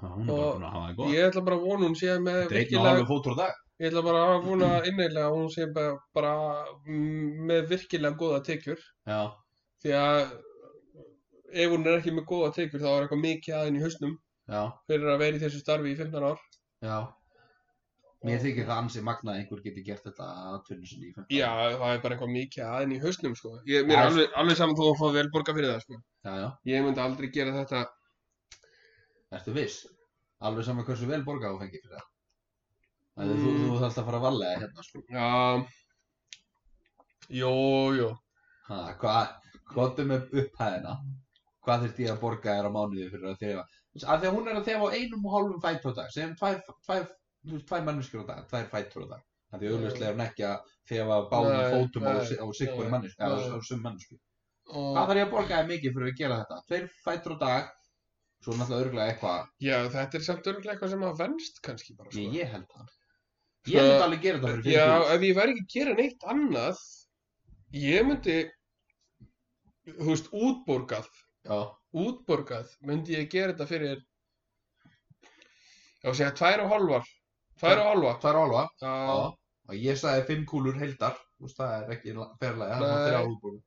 Já, Hún er bara Og búin að hafa það góð Ég ætla bara að vona hún sé með Þetta er ekki virkilega, alveg fótur á dag ég ætla bara að vona innlega að hún sé bara, bara mm, með virkilega góða tekjur. Já, Því að ef hún er ekki með góða tekjur þá er eitthvað mikið aðeins í hausnum já, fyrir að vera í þessu starfi í 15 ár. já Mér þykir það ansi magnað að einhver geti gert þetta að tunnu sinni í 15 Já, það er bara eitthvað mikið aðeins í hausnum sko. Ég, mér Já. er alveg, alveg saman þó að fá vel borga fyrir það sko. já, já, Ég myndi aldrei gera þetta. ertu viss? Alveg saman hversu vel borgað þú fengið fyrir það Það er þú, Mm. þú þarft að fara að valega hérna sko Já, jó, jó. Ha, Hvað, hvað er með upphæðina? Hvað þurft ég að borga þér á mánuði fyrir að þefa? Af því að hún er að þefa á einum og hálfum fætur á dag, sem tvær, tvær, þú veist, tvær manneskjur á dag, tvær fætur á dag. Af því Já. auðvitað er hún ekki að þefa báðum Nei, fótum á, nei, si- á sikkvori nei, manneskju, eða nei. á- á sum manneskju. Og... Hvað þarf ég að borga þér mikið fyrir að gera þetta? Tveir fætur á dag, svo náttúrulega örgulega eitthvað, Já, þetta er samt örgulega eitthvað sem að venst kannski bara, sko. ég, ég held það. Sko, Ég myndi alveg gera þetta fyrir Já, fyrir ef ég væri ekki að gera neitt annað, ég myndi, þú veist, útborgað, Já, útborgað, myndi ég gera þetta fyrir, já, segja, tvær og hálfar, tvær og hálfa, tvær og hálfa. Já. já, Og ég sagði fimm kúlur heildar, þú veist, það er ekki ferlega, það er Nei. þrjá húbúru.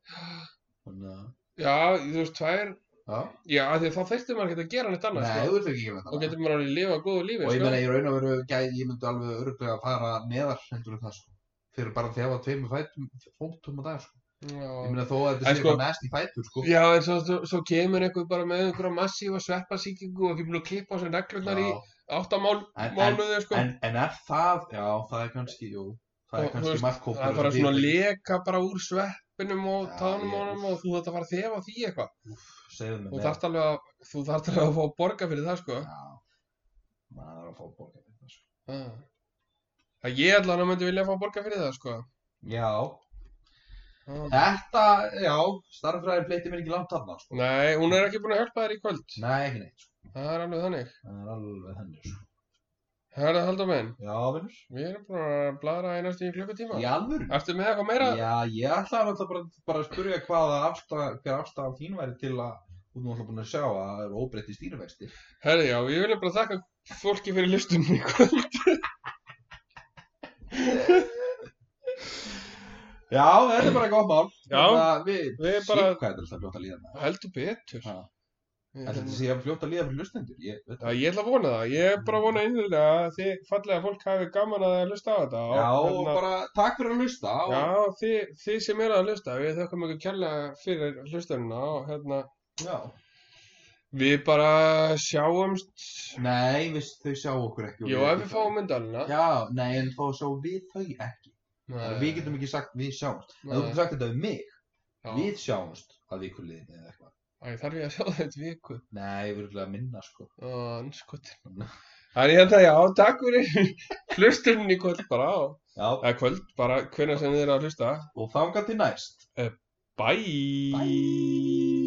Þannig að, já, þú veist, tvær, já. já, af því að þá þurfti maður ekki að gera neitt annað, Nei, þú sko, ert ekki með og það. getur maður alveg að lifa góðu lífi, Og ég sko. meina, ég raun og veru, gæ- ég myndi alveg öruglega að fara neðar heldur en það, sko. Fyrir bara að þefa tveimur fætum, fótum á dag, sko. Ég Já. meina, þó að þetta En sé sko- eitthvað mest í fætur, sko. Já, en svo, svo, svo kemur einhver bara með einhverja massífa sveppasíkingu og ekki búin að klippa á sér neglurnar í Já. áttamál En, en, mánuði sko en, en er það, já, það er kannski, jú, það Og, er þú kannski veist, markkópur. það er bara svona leka bara úr sveppinum og Já, tánum ég- á honum og þú þarft að fara að þefa því eitthvað Segðu mig þú meira. þarft alveg að, þú þarft alveg að fá að borga fyrir það sko Já, maður þarf að fá borga fyrir það, sko. að ég allan að myndi vilja fá að borga fyrir það sko Já, Ah. þetta, já, starffræðin fleyti mér ekki langt afna, sko. nei, hún er ekki búin að hjálpa þér í kvöld Nei, ekki neitt, sko. það er alveg þannig Það er alveg henni, sko. herra haldum minn, Já, vinnur. við erum búin að bladra í næstu í klukkutíma Í alvöru? ertu með eitthvað meira? Já, ég ætlaði náttúrulega bara, bara að spurja hvaða afstæða, hver afstæða þín væri til að þú erum alltaf búin að sjá að það eru óbreytti stýrivexti. herri já, ég vilja bara þakka fólki fyrir listunum í kvöld Já, þetta er bara gott mál. Já. Þetta- Við, Við Shit, bara- Hvað er þetta fljótt að líða með? heldur betur Ha. Ég- Þetta sé að fljótt að líða fyrir lustendur. Ég, veit Já, það. ég ætla að vona það. Ég er bara að vona einlega að þið fallega fólk hafi gaman að hlusta á þetta. og Já, og hérna- bara takk fyrir að hlusta. og- Já, þið, þið sem eru að hlusta, við þökkum ekki kærlega fyrir hlustunina og hérna, Já. við bara sjáumst, Nei, við, þau sjá okkur ekki. og jú, ef við fáum myndalina. Já, nei, en þá sjá við þau ekki. Þannig að Við getum ekki sagt við sjáumst. En Þú getur sagt þetta um mig. Við sjáumst að vikuliðinni eða eitthvað. Æ, þarf ég að sjá þetta viku. Nei, við erum að minna sko. Þannig að hérna, já, takk fyrir (laughs) hlustunin í kvöld bara, og- Já, eða kvöld, bara hvenær sem þið eru að hlusta. og þangað til næst. Bye! Bye.